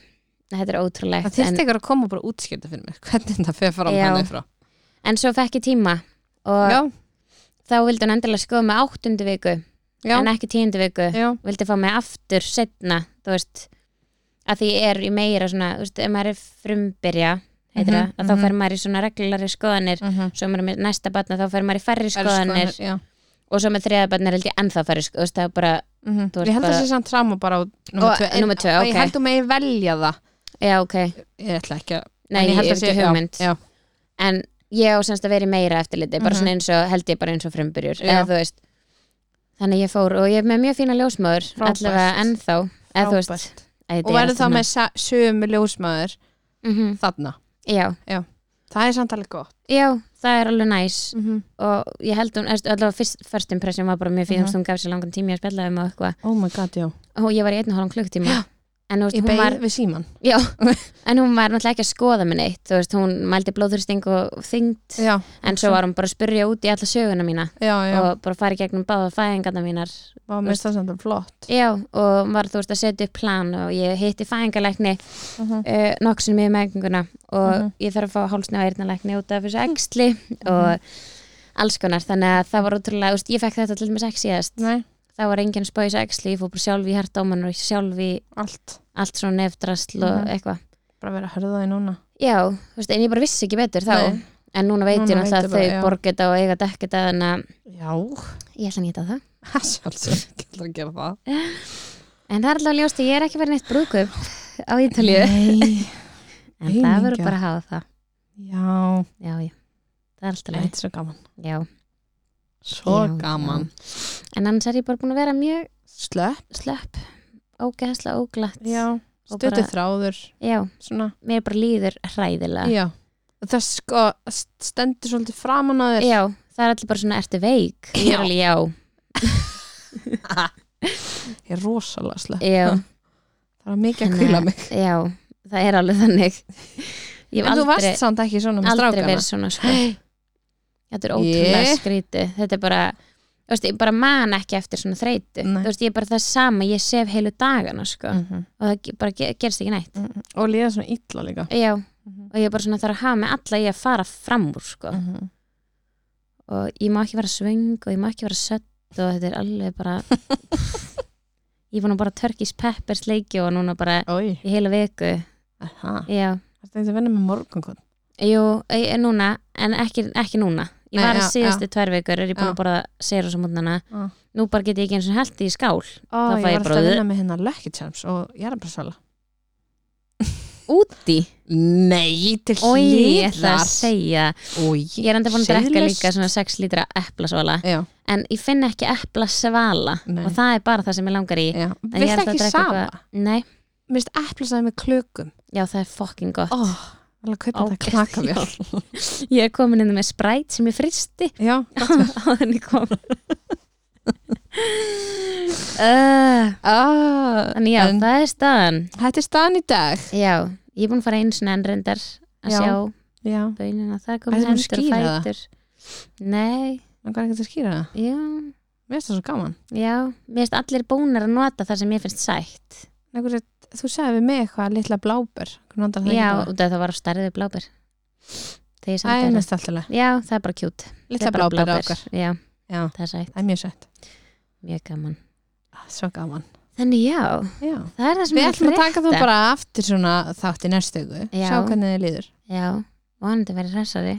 Speaker 1: Þetta er ótrúlegt
Speaker 2: Það þyrst ekki að koma og bara útskjölda fyrir mér Hvernig þetta fer fram
Speaker 1: Já.
Speaker 2: hann efrá
Speaker 1: en, en svo fekk ég tíma og
Speaker 2: Já,
Speaker 1: þá vildi hún endilega skoða mig áttundu viku
Speaker 2: já,
Speaker 1: en ekki tíundu viku
Speaker 2: já
Speaker 1: vildi fá mig aftur setna þú veist, að því ég er í meira svona, þú veist, ef maður er frumbyrja heitir
Speaker 2: Mhm,
Speaker 1: það, að þá
Speaker 2: mhm.
Speaker 1: fer maður í svona reglulari skoðanir
Speaker 2: Mhm.
Speaker 1: svo maður er með næsta batna þá fer maður í færri
Speaker 2: Eru
Speaker 1: skoðanir
Speaker 2: skoðanir, já.
Speaker 1: og svo með þriða batna held ég ennþá færri skoðanir, þú veist, það er bara
Speaker 2: Mhm.
Speaker 1: Þú ert
Speaker 2: Ég held að
Speaker 1: bara-
Speaker 2: það sé samt tráma bara á
Speaker 1: Og-
Speaker 2: nummer tvö En-
Speaker 1: númer tvö,
Speaker 2: og
Speaker 1: ok.
Speaker 2: Ég held að megi velja það
Speaker 1: já, ok,
Speaker 2: Ég ætla ekki að
Speaker 1: nei,
Speaker 2: en
Speaker 1: ég,
Speaker 2: held
Speaker 1: er
Speaker 2: að
Speaker 1: ekki
Speaker 2: sé- já,
Speaker 1: hugmynd
Speaker 2: Já,
Speaker 1: en ég á semst að vera í meira eftirliti bara
Speaker 2: Mhm.
Speaker 1: svona eins og, held ég bara eins og frumbyrjur
Speaker 2: Já.
Speaker 1: eða þú veist, þannig ég fór og ég er með mjög fína ljósmaður,
Speaker 2: Frábært.
Speaker 1: allavega ennþá eða þú veist,
Speaker 2: Frábært.
Speaker 1: æ, þetta
Speaker 2: Og
Speaker 1: er
Speaker 2: verður
Speaker 1: allt
Speaker 2: þá
Speaker 1: annað.
Speaker 2: með sa- sömu ljósmaður
Speaker 1: Mhm.
Speaker 2: þarna
Speaker 1: Já,
Speaker 2: Það er samt alveg gott
Speaker 1: já, það er alveg næs
Speaker 2: -hmm.
Speaker 1: og ég held hún, veist, allavega fyrst, first impression var bara mjög fyrir,
Speaker 2: Mhm.
Speaker 1: mm hún gaf sér langan tími að spjalla um og eitthvað
Speaker 2: Oh my god, já
Speaker 1: og ég var í einu hálfum klukktíma
Speaker 2: Já.
Speaker 1: en, þú veist,
Speaker 2: Ég
Speaker 1: hún
Speaker 2: beigð
Speaker 1: var,
Speaker 2: við síman
Speaker 1: já, en hún var náttúrulega ekki að skoða mig neitt, þú veist, hún mældi blóðursting og þyngd,
Speaker 2: Mm, Já,
Speaker 1: en svo var hún bara að spurja út í alla söguna mína
Speaker 2: já, já
Speaker 1: og bara fara í gegnum báða fæðingarna mínar
Speaker 2: Vá, mér finnst það samt alveg flott
Speaker 1: já, og var þú veist að setja upp plan og ég hitti fæðingarleikni
Speaker 2: uh
Speaker 1: uh, nokksun mjög meðgönguna og
Speaker 2: Mhm.
Speaker 1: ég þarf að fá hálsni á eyrnalækni út af þessu æxli og alls konar þannig að það var ótrúlega, úst, ég fekk þetta til dæmis ekki síðast
Speaker 2: Nei,
Speaker 1: það var enginn spá í þessu æxli, ég fór bara sjálf í hjartámanur og sjálf í
Speaker 2: allt
Speaker 1: allt svona nefdrasl og
Speaker 2: Mhm.
Speaker 1: eitthvað
Speaker 2: Bara vera að hörða því núna
Speaker 1: já, þú veist, en ég bara vissi ekki betur þá
Speaker 2: Nei.
Speaker 1: en núna veit ég
Speaker 2: Núna
Speaker 1: náttúrulega
Speaker 2: veitu
Speaker 1: að
Speaker 2: bara,
Speaker 1: þau
Speaker 2: já.
Speaker 1: borga þetta og eiga dekka þetta þannig að
Speaker 2: Já,
Speaker 1: ég ætla að nýta það
Speaker 2: sjálfsög, ég ætla að gera það
Speaker 1: en það er allavega ljóst að ég er ekki verið neitt brúkup á Ítalíu
Speaker 2: Nei,
Speaker 1: en það verður
Speaker 2: aumingja.
Speaker 1: bara að hafa það
Speaker 2: já,
Speaker 1: já, já, það er alltaf leið
Speaker 2: þetta er svo gaman
Speaker 1: já,
Speaker 2: Svo
Speaker 1: Já,
Speaker 2: gaman
Speaker 1: en annars er ég bara búin að vera mjög
Speaker 2: Slöpp
Speaker 1: slöpp ógæðslega óglatt
Speaker 2: Já,
Speaker 1: Og
Speaker 2: stötu
Speaker 1: bara-
Speaker 2: þráður
Speaker 1: já,
Speaker 2: Svona,
Speaker 1: mér bara líður hræðilega
Speaker 2: já Það sko, stendur svolítið framan að þér
Speaker 1: Já, það er allir bara svona, ertu veik? Ég
Speaker 2: Já.
Speaker 1: er alveg, já,
Speaker 2: Ég er rosalega slöpp
Speaker 1: já,
Speaker 2: Það er mikið að
Speaker 1: Þannig
Speaker 2: kvíla
Speaker 1: að-
Speaker 2: mig
Speaker 1: já, það er alveg þannig. Ég hef
Speaker 2: En þú
Speaker 1: aldrei,
Speaker 2: varst samt ekki svona með
Speaker 1: aldrei
Speaker 2: strákana
Speaker 1: verið svona sko. Þetta er ótrúlega
Speaker 2: Ég-
Speaker 1: skrítið. Þetta er bara, þú veist, ég bara man ekki eftir svona þreytu
Speaker 2: Nei. Mm.
Speaker 1: þú veist, ég er bara það sama, ég sef heilu dagana sko, og það ge- bara ge gerst ekki neitt
Speaker 2: og líða svona illa líka
Speaker 1: já,
Speaker 2: Mhm.
Speaker 1: og ég er bara svona þarf að hafa með alla í að fara fram úr sko, og ég má ekki vera svöng og ég má ekki vera sött og þetta er alveg bara ég var nú bara Turkish Peppers leiki og núna bara
Speaker 2: Oi,
Speaker 1: í heila viku
Speaker 2: aha,
Speaker 1: já,
Speaker 2: þetta er eins að vinna með morgunkot
Speaker 1: jú, ég er núna en ekki, ekki núna, ég
Speaker 2: Nei,
Speaker 1: var
Speaker 2: já,
Speaker 1: að síðustu tvær vikur er ég búin
Speaker 2: Já.
Speaker 1: að borða serósamotnana
Speaker 2: Já.
Speaker 1: nú bara get ég ekki eins og held í skál
Speaker 2: Ó,
Speaker 1: Það
Speaker 2: ég
Speaker 1: fæ
Speaker 2: var
Speaker 1: ég
Speaker 2: alltaf að
Speaker 1: bröðu.
Speaker 2: vinna með hérna Lucky Charms og ég er að bara sala
Speaker 1: úti
Speaker 2: Nei, til
Speaker 1: Oj, ég ætla að segja Ég er enda búin að drekka
Speaker 2: Siðlaust.
Speaker 1: líka svona 6 lítra eplasvala
Speaker 2: Já,
Speaker 1: En ég finn ekki eplasvala
Speaker 2: Nei.
Speaker 1: Og það er bara það sem ég langar í
Speaker 2: já
Speaker 1: En ég er
Speaker 2: Viltu
Speaker 1: alltaf að
Speaker 2: ekki
Speaker 1: drekka
Speaker 2: sama?
Speaker 1: eitthvað- Nei,
Speaker 2: Mér finnst eplasaði með klökum
Speaker 1: já það er fucking gott
Speaker 2: Ó, vel að kaupa þetta
Speaker 1: Ágætt,
Speaker 2: klakavél
Speaker 1: Ég er komin inn með spræt sem ég fristi
Speaker 2: Já,
Speaker 1: Á þenni kom uh,
Speaker 2: ah,
Speaker 1: Þannig já,
Speaker 2: En-
Speaker 1: það er staðan
Speaker 2: Þetta er staðan í dag
Speaker 1: Já, ég er búin að fara einu svona enrendar Að
Speaker 2: Já.
Speaker 1: sjá
Speaker 2: Já,
Speaker 1: bönina Það
Speaker 2: Ertu
Speaker 1: komið
Speaker 2: búin að
Speaker 1: hendur og
Speaker 2: skýra það?
Speaker 1: fætur Nei,
Speaker 2: en hvað er ekki að skýra það?
Speaker 1: já,
Speaker 2: Mér finnst það svo gaman
Speaker 1: já Mér finnst allir búnar að nota það sem ég finnst sætt
Speaker 2: Einhver, Þú sagði við mig eitthvað litla bláber Hvernig
Speaker 1: Já, út af það var á stærðið bláber Þegar ég samt
Speaker 2: Það er
Speaker 1: er
Speaker 2: mest alltaf lega.
Speaker 1: Já, það er bara kjút
Speaker 2: Litla bláber á okkar
Speaker 1: Já,
Speaker 2: Já,
Speaker 1: það er sætt,
Speaker 2: það er mjög sætt
Speaker 1: mjög gaman
Speaker 2: Ah, Svo gaman
Speaker 1: Þannig já,
Speaker 2: Já
Speaker 1: það er það sem
Speaker 2: Við
Speaker 1: ég
Speaker 2: ætlum að taka þá
Speaker 1: frétta.
Speaker 2: bara aftur svona þátt í næstu viku,
Speaker 1: Já.
Speaker 2: sjá hvernig þið líður.
Speaker 1: Já, vonandi verið hressari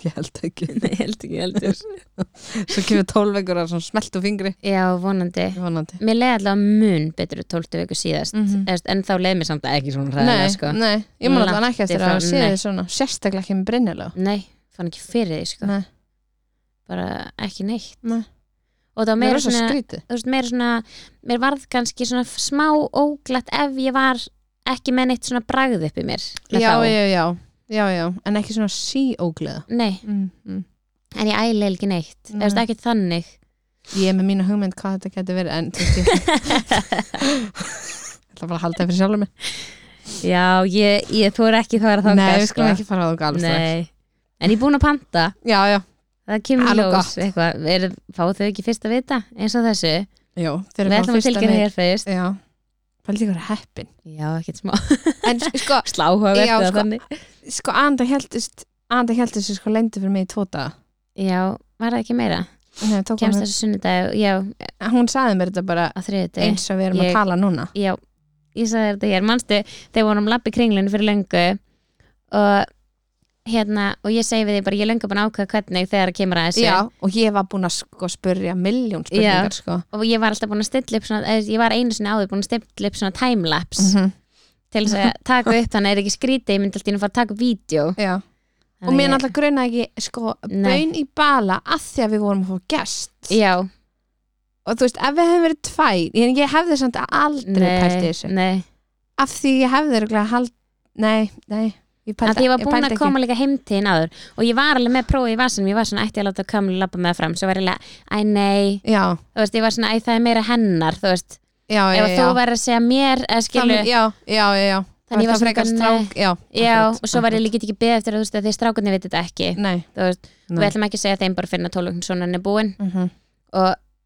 Speaker 2: Ég held ekki.
Speaker 1: Nei, held ekki heldur
Speaker 2: Svo kemur tólvegur að svona smeltu fingri.
Speaker 1: Já, vonandi
Speaker 2: Vonandi.
Speaker 1: Mér leiði allavega mun betur 12 viku síðast mm
Speaker 2: Mhm.
Speaker 1: En þá leiði mér samt ekki svona
Speaker 2: Nei,
Speaker 1: ræðilega sko.
Speaker 2: nei, ég man alltaf
Speaker 1: Langt
Speaker 2: ekki eftir
Speaker 1: í frá-
Speaker 2: að sé
Speaker 1: nei.
Speaker 2: þið svona, sérstaklega ekki með brinnilega.
Speaker 1: Nei, fann ekki fyrir því sko.
Speaker 2: Nei.
Speaker 1: Bara ekki neitt
Speaker 2: Nei.
Speaker 1: Og það var
Speaker 2: Það
Speaker 1: meira
Speaker 2: er rosa
Speaker 1: svona
Speaker 2: skrítið.
Speaker 1: þú veist, meira svona, mér varð kannski svona smá óglatt ef ég var ekki með neitt svona bragð upp í mér með
Speaker 2: Já,
Speaker 1: þá.
Speaker 2: já, já, já, já, en ekki svona síógleða.
Speaker 1: Nei,
Speaker 2: Mm, mm.
Speaker 1: en ég æli ekki neitt
Speaker 2: Nei.
Speaker 1: Nei. veist, ekki þannig
Speaker 2: Ég er með mína hugmynd hvað þetta getur verið, en þú veist ég ætla ætla bara að halda það fyrir sjálfur mig.
Speaker 1: Já, ég, ég þú er ekki það að þangað
Speaker 2: Nei, við
Speaker 1: sko.
Speaker 2: skulum ekki fara á það alveg strax.
Speaker 1: Nei. En ég er búin að panta
Speaker 2: Já, já,
Speaker 1: Það kemur í
Speaker 2: Alveg
Speaker 1: ljós
Speaker 2: gott.
Speaker 1: eitthvað, er, fá þau ekki fyrst að vita eins og þessu,
Speaker 2: já, þeir
Speaker 1: við ætlum að tilkynna hér fyrst
Speaker 2: Já, pældi ykkur heppin.
Speaker 1: Já, ekkert smá,
Speaker 2: En sko,
Speaker 1: sláhuga
Speaker 2: Já,
Speaker 1: verður
Speaker 2: sko.
Speaker 1: þannig
Speaker 2: sko Anda heldist Anda heldist sér sko lendi fyrir mig í tvo daga
Speaker 1: Já, var það ekki meira
Speaker 2: Nei, tók
Speaker 1: Kemst
Speaker 2: hún,
Speaker 1: þessu sunnudag, já,
Speaker 2: hún sagði mér þetta bara
Speaker 1: á þriðudegi
Speaker 2: eins og við erum
Speaker 1: Ég-
Speaker 2: að tala núna
Speaker 1: Já, ég sagði þér þetta hér Manstu, þegar vorum lappi kringlun fyrir löngu og hérna, og ég segi við því bara, ég er löngu búin að ákveða hvernig þegar það kemur að þessu
Speaker 2: Já, og ég var búin að sko spurja miljón spurningar sko
Speaker 1: og ég var alltaf búin að stilla upp svona, eða, ég var einu sinni áður búin að stilla upp svona timelapse
Speaker 2: -hmm.
Speaker 1: til þess að taka upp þannig er ekki skrítið, ég myndi alltaf að fara að taka upp vídeo
Speaker 2: Já, og mér náttúrulega gruna ekki sko
Speaker 1: Nei.
Speaker 2: baun í bala að því að við vorum að fá gest
Speaker 1: Já,
Speaker 2: og þú veist, ef við hefum verið tvær ég, ég hefði samt aldrei pælt í
Speaker 1: nei,
Speaker 2: þessu
Speaker 1: nei
Speaker 2: af því ég hefði örugglega hald Nei, nei, ég
Speaker 1: að
Speaker 2: pældi
Speaker 1: því ég var búin
Speaker 2: pældi
Speaker 1: að
Speaker 2: ekki.
Speaker 1: koma líka heimtíðin áður og ég var alveg með prófið í vasanum, ég var svona ætti ég að láta kamlu labba með fram, svo var ég alveg, æ nei
Speaker 2: Já,
Speaker 1: þú veist, ég var svona, æ það er meira hennar þú veist,
Speaker 2: já, já,
Speaker 1: ef
Speaker 2: já.
Speaker 1: þú væri að segja mér eða skilu,
Speaker 2: Þannig- já, já, já, já.
Speaker 1: Þannig ég var
Speaker 2: Það
Speaker 1: svona
Speaker 2: frekar
Speaker 1: eitthvað,
Speaker 2: strák, já,
Speaker 1: já,
Speaker 2: akkurat,
Speaker 1: og svo var ég
Speaker 2: akkurat.
Speaker 1: líka ekki beðið eftir að þú veist að því strákunni veit þetta ekki
Speaker 2: nei,
Speaker 1: þú veist, við
Speaker 2: nei.
Speaker 1: ætlum ekki að segja þeim bara fyrir að tólugn svona er búin
Speaker 2: Mm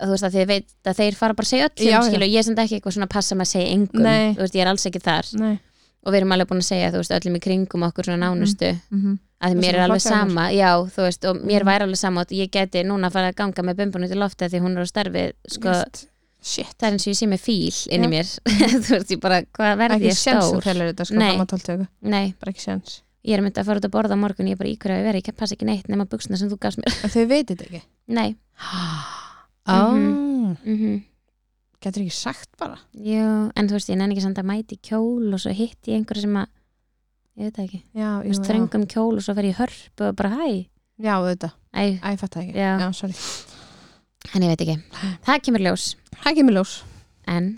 Speaker 1: og þú veist að þið veit að þeir fara bara að segja öllum
Speaker 2: Já, já.
Speaker 1: skilu, ég er sem ekki eitthvað svona að passa með að segja engum,
Speaker 2: Nei.
Speaker 1: þú veist, ég er alls ekki þar
Speaker 2: nei.
Speaker 1: og við erum alveg búin að segja, þú veist, öllum í kringum okkur svona nánustu,
Speaker 2: Mm -hmm.
Speaker 1: að því
Speaker 2: Það
Speaker 1: mér
Speaker 2: sem
Speaker 1: er alveg
Speaker 2: flokkar hennar.
Speaker 1: sama já, þú veist, og mér væri alveg sama og ég geti núna að fara að ganga með bumbun út í lofti af því hún er á starfi, sko,
Speaker 2: shit,
Speaker 1: það er eins og ég sé með fíl inn í
Speaker 2: Já.
Speaker 1: mér, þú veist, ég bara hvað verði
Speaker 2: ekki
Speaker 1: ég
Speaker 2: séns þú
Speaker 1: stór?
Speaker 2: telur þetta sko,
Speaker 1: Nei.
Speaker 2: fram að 12 tökur,
Speaker 1: Nei,
Speaker 2: bara ekki séns
Speaker 1: ég er myndið að fara út að borða á morgun ég er bara í hverju að vera, ég kann- passa ekki neitt nema buksna sem þú gafst mér
Speaker 2: en þau veitir þetta ekki
Speaker 1: Nei, Mhm.
Speaker 2: oh.
Speaker 1: mm
Speaker 2: getur ekki sagt bara
Speaker 1: jú, en þú veist, ég nenni ekki samt að mæti kjól og svo hitti ég einhverja sem að ég veit það ekki,
Speaker 2: já,
Speaker 1: þú veist, þröngum kjól og svo fer ég í hörpu og bara hæ,
Speaker 2: já, þetta,
Speaker 1: æ,
Speaker 2: að ég fatt það ekki
Speaker 1: Já.
Speaker 2: já sorry,
Speaker 1: en ég veit ekki það kemur ljós,
Speaker 2: það kemur ljós
Speaker 1: en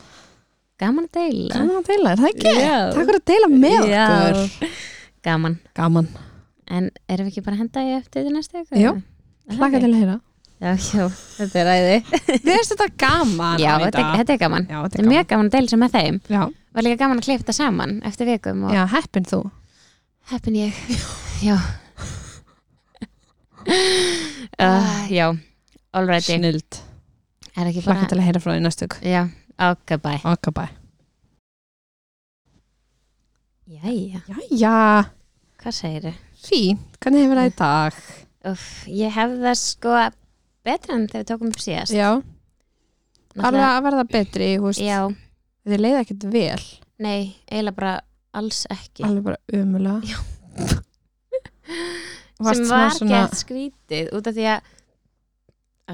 Speaker 1: gaman að deila
Speaker 2: gaman að deila, er það ekki?
Speaker 1: Já.
Speaker 2: takk fyrir að deila með
Speaker 1: Já.
Speaker 2: okkur
Speaker 1: gaman,
Speaker 2: gaman,
Speaker 1: en erum við ekki bara að henda í eftir því næstu ykkur?
Speaker 2: Jú. hlaka til að heyra
Speaker 1: Já, já, þetta er æði
Speaker 2: við erum þetta gaman
Speaker 1: Já,
Speaker 2: Anita.
Speaker 1: þetta, er- þetta er gaman,
Speaker 2: já, þetta
Speaker 1: þetta er mjög gaman að deila sem með þeim
Speaker 2: já,
Speaker 1: var líka gaman að klipta saman eftir vikum og
Speaker 2: já, heppin þú
Speaker 1: Heppin ég Já uh, Já, alrighty
Speaker 2: snild
Speaker 1: er ekki
Speaker 2: Hlakka
Speaker 1: bara
Speaker 2: til að heyra frá því næstu ykkur.
Speaker 1: já, ok, bye
Speaker 2: Ok, bye.
Speaker 1: jæja,
Speaker 2: Jæja,
Speaker 1: hvað segirðu?
Speaker 2: fín, hvernig hefur það í dag?
Speaker 1: Uff, ég hef það sko betra en þegar við tókum upp síðast
Speaker 2: Já, alveg
Speaker 1: Náttúrulega-
Speaker 2: að verða betri, þú veist,
Speaker 1: já,
Speaker 2: þið leiða ekkert vel,
Speaker 1: nei, eiginlega bara alls ekki
Speaker 2: alveg bara umulega. Já.
Speaker 1: sem var svona... gett skrítið út af því að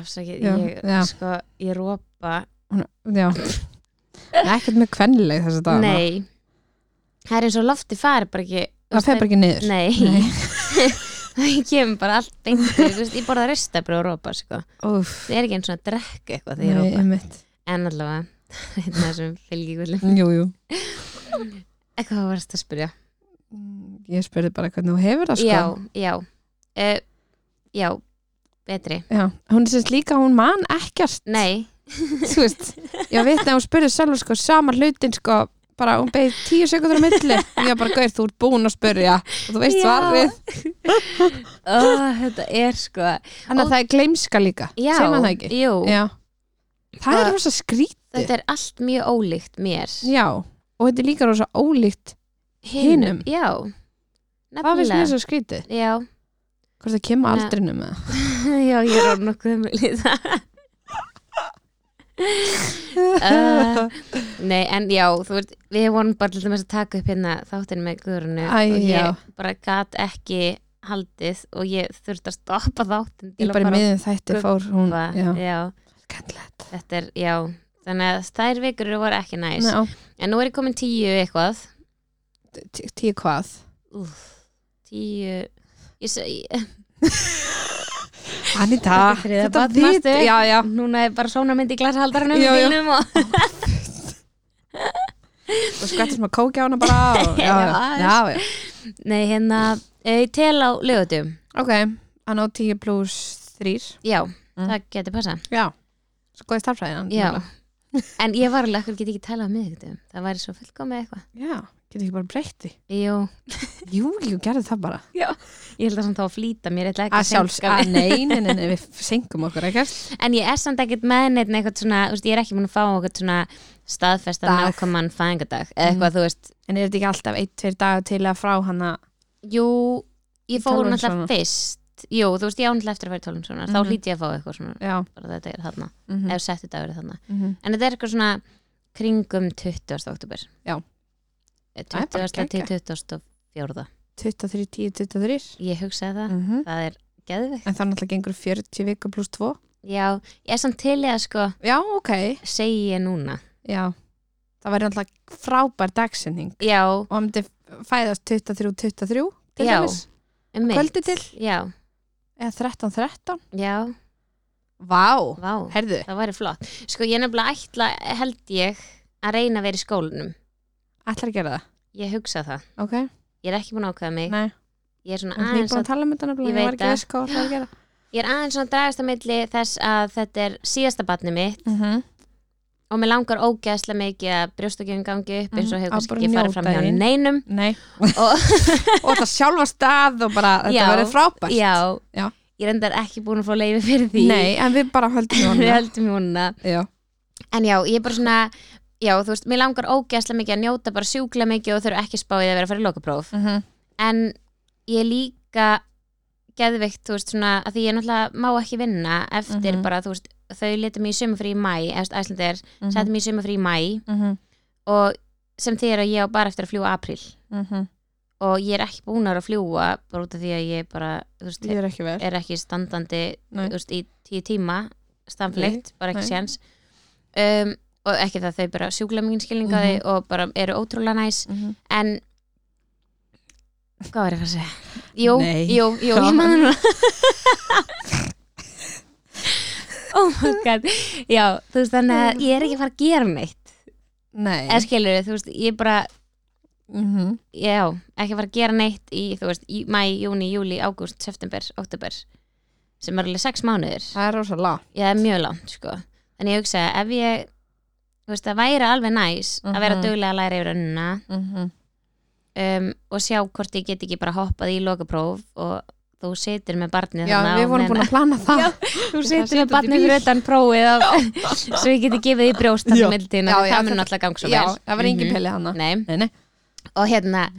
Speaker 1: afsakið,
Speaker 2: Já,
Speaker 1: ég
Speaker 2: já. sko.
Speaker 1: sko, ég rópa
Speaker 2: Já, Nei, ekkert með kvennileg þess að dag.
Speaker 1: nei, það er eins og lofti fari bara ekki
Speaker 2: Það fer bara ekki niður.
Speaker 1: Nei,
Speaker 2: Nei.
Speaker 1: það kemur bara allt beint til, þú veist, ég borða ristabri og rópa sko.
Speaker 2: Úf,
Speaker 1: það er ekki eins og að drekka eitthvað þegar
Speaker 2: nei,
Speaker 1: ég rópa
Speaker 2: einmitt.
Speaker 1: en allavega, hérna þessum fylgjugullum
Speaker 2: Jú, jú.
Speaker 1: eitthvað varst að spyrja
Speaker 2: Mm, Ég spurði bara hvernig þú hefur það, sko.
Speaker 1: já, já uh, já, betri
Speaker 2: Já, hún er sérst líka, hún man ekkert.
Speaker 1: nei,
Speaker 2: Þú veist, ég veit að hún spurði sjálfur, sko, sama hlutin, sko, bara hún beði tíu sekundur á milli. Ég var bara, gauð, þú ert búin að spurja og þú veist
Speaker 1: Já.
Speaker 2: svarið.
Speaker 1: Ó, þetta er sko
Speaker 2: Þannig að það er gleimska líka.
Speaker 1: já,
Speaker 2: Segir maður það ekki?
Speaker 1: jú,
Speaker 2: Já.
Speaker 1: Það-
Speaker 2: Það er rosa skrítið.
Speaker 1: þetta er allt mjög ólíkt mér
Speaker 2: Já, og þetta er líka rosa ólíkt. hinum.
Speaker 1: já,
Speaker 2: Það finnst mér
Speaker 1: nefnilega
Speaker 2: svo skrítið.
Speaker 1: já,
Speaker 2: Hvort það kemur
Speaker 1: Nei.
Speaker 2: aldrinum með það?
Speaker 1: já, ég er orðin nokkuð umil í það Uh, Nei, en já, þú veist, við vorum bara til dæmis að taka upp hérna þáttinn með guðrunu
Speaker 2: Æ,
Speaker 1: og ég
Speaker 2: já.
Speaker 1: bara gat ekki haldið og ég þurfti að stoppa þáttinn til
Speaker 2: Ég
Speaker 1: að
Speaker 2: bara í
Speaker 1: fara
Speaker 2: miðin þætti
Speaker 1: gubba.
Speaker 2: fór hún,
Speaker 1: Hva?
Speaker 2: já,
Speaker 1: já,
Speaker 2: kennlegt.
Speaker 1: þetta er, já þannig að þær vikur eru voru ekki næs
Speaker 2: Ná,
Speaker 1: en nú er ég komin tíu eitthvað
Speaker 2: t- tíu hvað?
Speaker 1: Úf, tíu ég segi,
Speaker 2: Anita,
Speaker 1: Þetta er þriðja barn, manstu?
Speaker 2: já, já.
Speaker 1: núna er bara svona mynd í glashaldaranum í
Speaker 2: Já, já.
Speaker 1: bílnum og
Speaker 2: Og skvættir sem að kókja hana bara. Og, já, já,
Speaker 1: aðeins.
Speaker 2: já, já.
Speaker 1: nei, hérna, eh, ég tel á lögutum
Speaker 2: Ok, hann á tíu pluss þrýr.
Speaker 1: já,
Speaker 2: Mm.
Speaker 1: það getur passa
Speaker 2: Já. Svo góði starfræðin.
Speaker 1: já, en ég var alveg, akkur get ekki talað á miðvikutum það væri svo fullkomið eitthvað
Speaker 2: Já, getur ekki bara breytti.
Speaker 1: jú,
Speaker 2: Jú, jú, gerði það bara.
Speaker 1: ég held að samt þá að flýta mér ég ætla ekki
Speaker 2: Að sjálfs,
Speaker 1: seinka
Speaker 2: að
Speaker 1: mig.
Speaker 2: nei, nei, nei, nei, við senkum okkur, ekkert?
Speaker 1: En ég er samt ekkert með neitt eitthvað svona, þú veist, ég er ekki búin að fá eitthvað svona staðfesta
Speaker 2: Dag.
Speaker 1: nákvæmann fæðingadag eða eitthvað, þú veist,
Speaker 2: En er þetta ekki alltaf ein, tveir dagar til að frá hana?
Speaker 1: jú, ég fór
Speaker 2: Tólf
Speaker 1: hún
Speaker 2: ára
Speaker 1: alltaf
Speaker 2: svona.
Speaker 1: fyrst, jú, þú veist, ég án eftir að fara í tólum svona,
Speaker 2: Mhm.
Speaker 1: þá hlýti ég að fá eitthvað svona,
Speaker 2: Já.
Speaker 1: bara þetta er þarna,
Speaker 2: Mm
Speaker 1: ef settu dagur er þarna.
Speaker 2: -hmm.
Speaker 1: En þetta er eitthvað svona kringum 20. oktober.
Speaker 2: Já.
Speaker 1: Eh,
Speaker 2: Það er bara
Speaker 1: 20. til
Speaker 2: geggjað.
Speaker 1: 24.
Speaker 2: 23, 10, 23.
Speaker 1: Ég hugsaði það,
Speaker 2: Mm -hmm.
Speaker 1: það er geðveikt.
Speaker 2: En það náttúrulega gengur 40 vikur pluss 2.
Speaker 1: Já, ég er samt til ég að sko,
Speaker 2: Já, ok.
Speaker 1: segi ég núna.
Speaker 2: Já, það væri náttúrulega frábær dagsending
Speaker 1: Já,
Speaker 2: og hann myndi fæðast 23-23 til
Speaker 1: Já.
Speaker 2: dæmis,
Speaker 1: um mitt.
Speaker 2: kvöldi til
Speaker 1: Já,
Speaker 2: eða 13-13
Speaker 1: já,
Speaker 2: Vá,
Speaker 1: vá.
Speaker 2: herðu,
Speaker 1: Það væri flott. Sko ég nefnilega ætla, held ég, að reyna að vera í skólanum.
Speaker 2: ætlar að gera það
Speaker 1: Ég hugsa það.
Speaker 2: Ok,
Speaker 1: Ég er ekki búin að ákveða mig.
Speaker 2: nei,
Speaker 1: Ég er svona
Speaker 2: hann er
Speaker 1: aðeins
Speaker 2: búin
Speaker 1: að,
Speaker 2: að tala um þetta
Speaker 1: Ég
Speaker 2: nefnilega,
Speaker 1: veit
Speaker 2: ég var ekki
Speaker 1: það.
Speaker 2: veist hvað ætlar að gera
Speaker 1: ég er aðeins svona að dragast á milli þess að þetta er síðasta barnið mitt
Speaker 2: mm -hmm.
Speaker 1: og mér langar ógeðslega mikið að brjóstakjöfum gangi upp eins og
Speaker 2: Mhm,
Speaker 1: hefur
Speaker 2: að
Speaker 1: kannski
Speaker 2: bara
Speaker 1: ekki farið
Speaker 2: njóta
Speaker 1: fram hjá
Speaker 2: þín.
Speaker 1: neinum.
Speaker 2: Nei,
Speaker 1: Og,
Speaker 2: og það sjálfa stað og bara, þetta
Speaker 1: Já.
Speaker 2: verður frábært
Speaker 1: já,
Speaker 2: Já.
Speaker 1: ég er endar ekki búin að fá leiði fyrir því.
Speaker 2: Nei, en við bara höldum honum
Speaker 1: Við heldum húnna.
Speaker 2: Já,
Speaker 1: En já, ég er bara svona, já, þú veist, mér langar ógeðslega mikið að njóta bara sjúkla mikið og þurfa ekki spáið að vera að fara í lokapróf.
Speaker 2: mm -hmm.
Speaker 1: en ég líka geðveikt, þú veist, svona að því ég náttúrulega má ekki vinna eftir
Speaker 2: Mhm.
Speaker 1: bara, þú veist, þau letum mig í sumafrí í mæ eftir æslandir, mm
Speaker 2: Mm
Speaker 1: settum mig í sumafrí í mæ
Speaker 2: -hmm.
Speaker 1: og sem þýr að ég á bara eftir að fljúa apríl
Speaker 2: Mm -hmm.
Speaker 1: og ég er ekki búin að vera að fljúa bara út af því að ég bara, þú veist,
Speaker 2: Líður ekki vel
Speaker 1: er ekki standandi,
Speaker 2: Nei.
Speaker 1: þú veist, í tíu tíma stamfleitt, bara ekki
Speaker 2: nei.
Speaker 1: séns um, og ekki það þau bara sjúkla mingin skilningaði
Speaker 2: Mhm.
Speaker 1: og bara eru ótrúlega næs
Speaker 2: mm -hmm.
Speaker 1: en hvað var ég að fara að segja? Jú,
Speaker 2: Nei.
Speaker 1: jú, jú, ég maður núna Oh my god Já, þú veist þannig að ég er ekki að fara að gera neitt
Speaker 2: Nei
Speaker 1: eða skilur þú veist, ég bara
Speaker 2: mm -hmm.
Speaker 1: já, ekki að fara að gera neitt í, þú veist, í mæ, júni, júli, ágúst, september, oktober sem er alveg sex mánuðir
Speaker 2: Það er rosa lág
Speaker 1: ég er mjög langt, sko en ég hugsa, ef ég þú veist, það væri alveg næs að vera
Speaker 2: Mhm.
Speaker 1: duglega að læra yfir önnuna
Speaker 2: mm -hmm.
Speaker 1: um, og sjá hvort ég get ekki bara hoppað í lokapróf og þú situr með barnið
Speaker 2: Já, við vorum búin að plana það.
Speaker 1: þú situr
Speaker 2: Það situr
Speaker 1: með
Speaker 2: út í
Speaker 1: barnið
Speaker 2: bíl.
Speaker 1: fyrir utan prófið á, svo ég geti gefið því brjóst
Speaker 2: Já.
Speaker 1: þannig mildin,
Speaker 2: Já,
Speaker 1: það
Speaker 2: já,
Speaker 1: mun
Speaker 2: þetta-
Speaker 1: alltaf gang svo
Speaker 2: Já,
Speaker 1: vel
Speaker 2: það var engin
Speaker 1: Mhm.
Speaker 2: pelið hana.
Speaker 1: Nei,
Speaker 2: Nei, nei.
Speaker 1: og hérna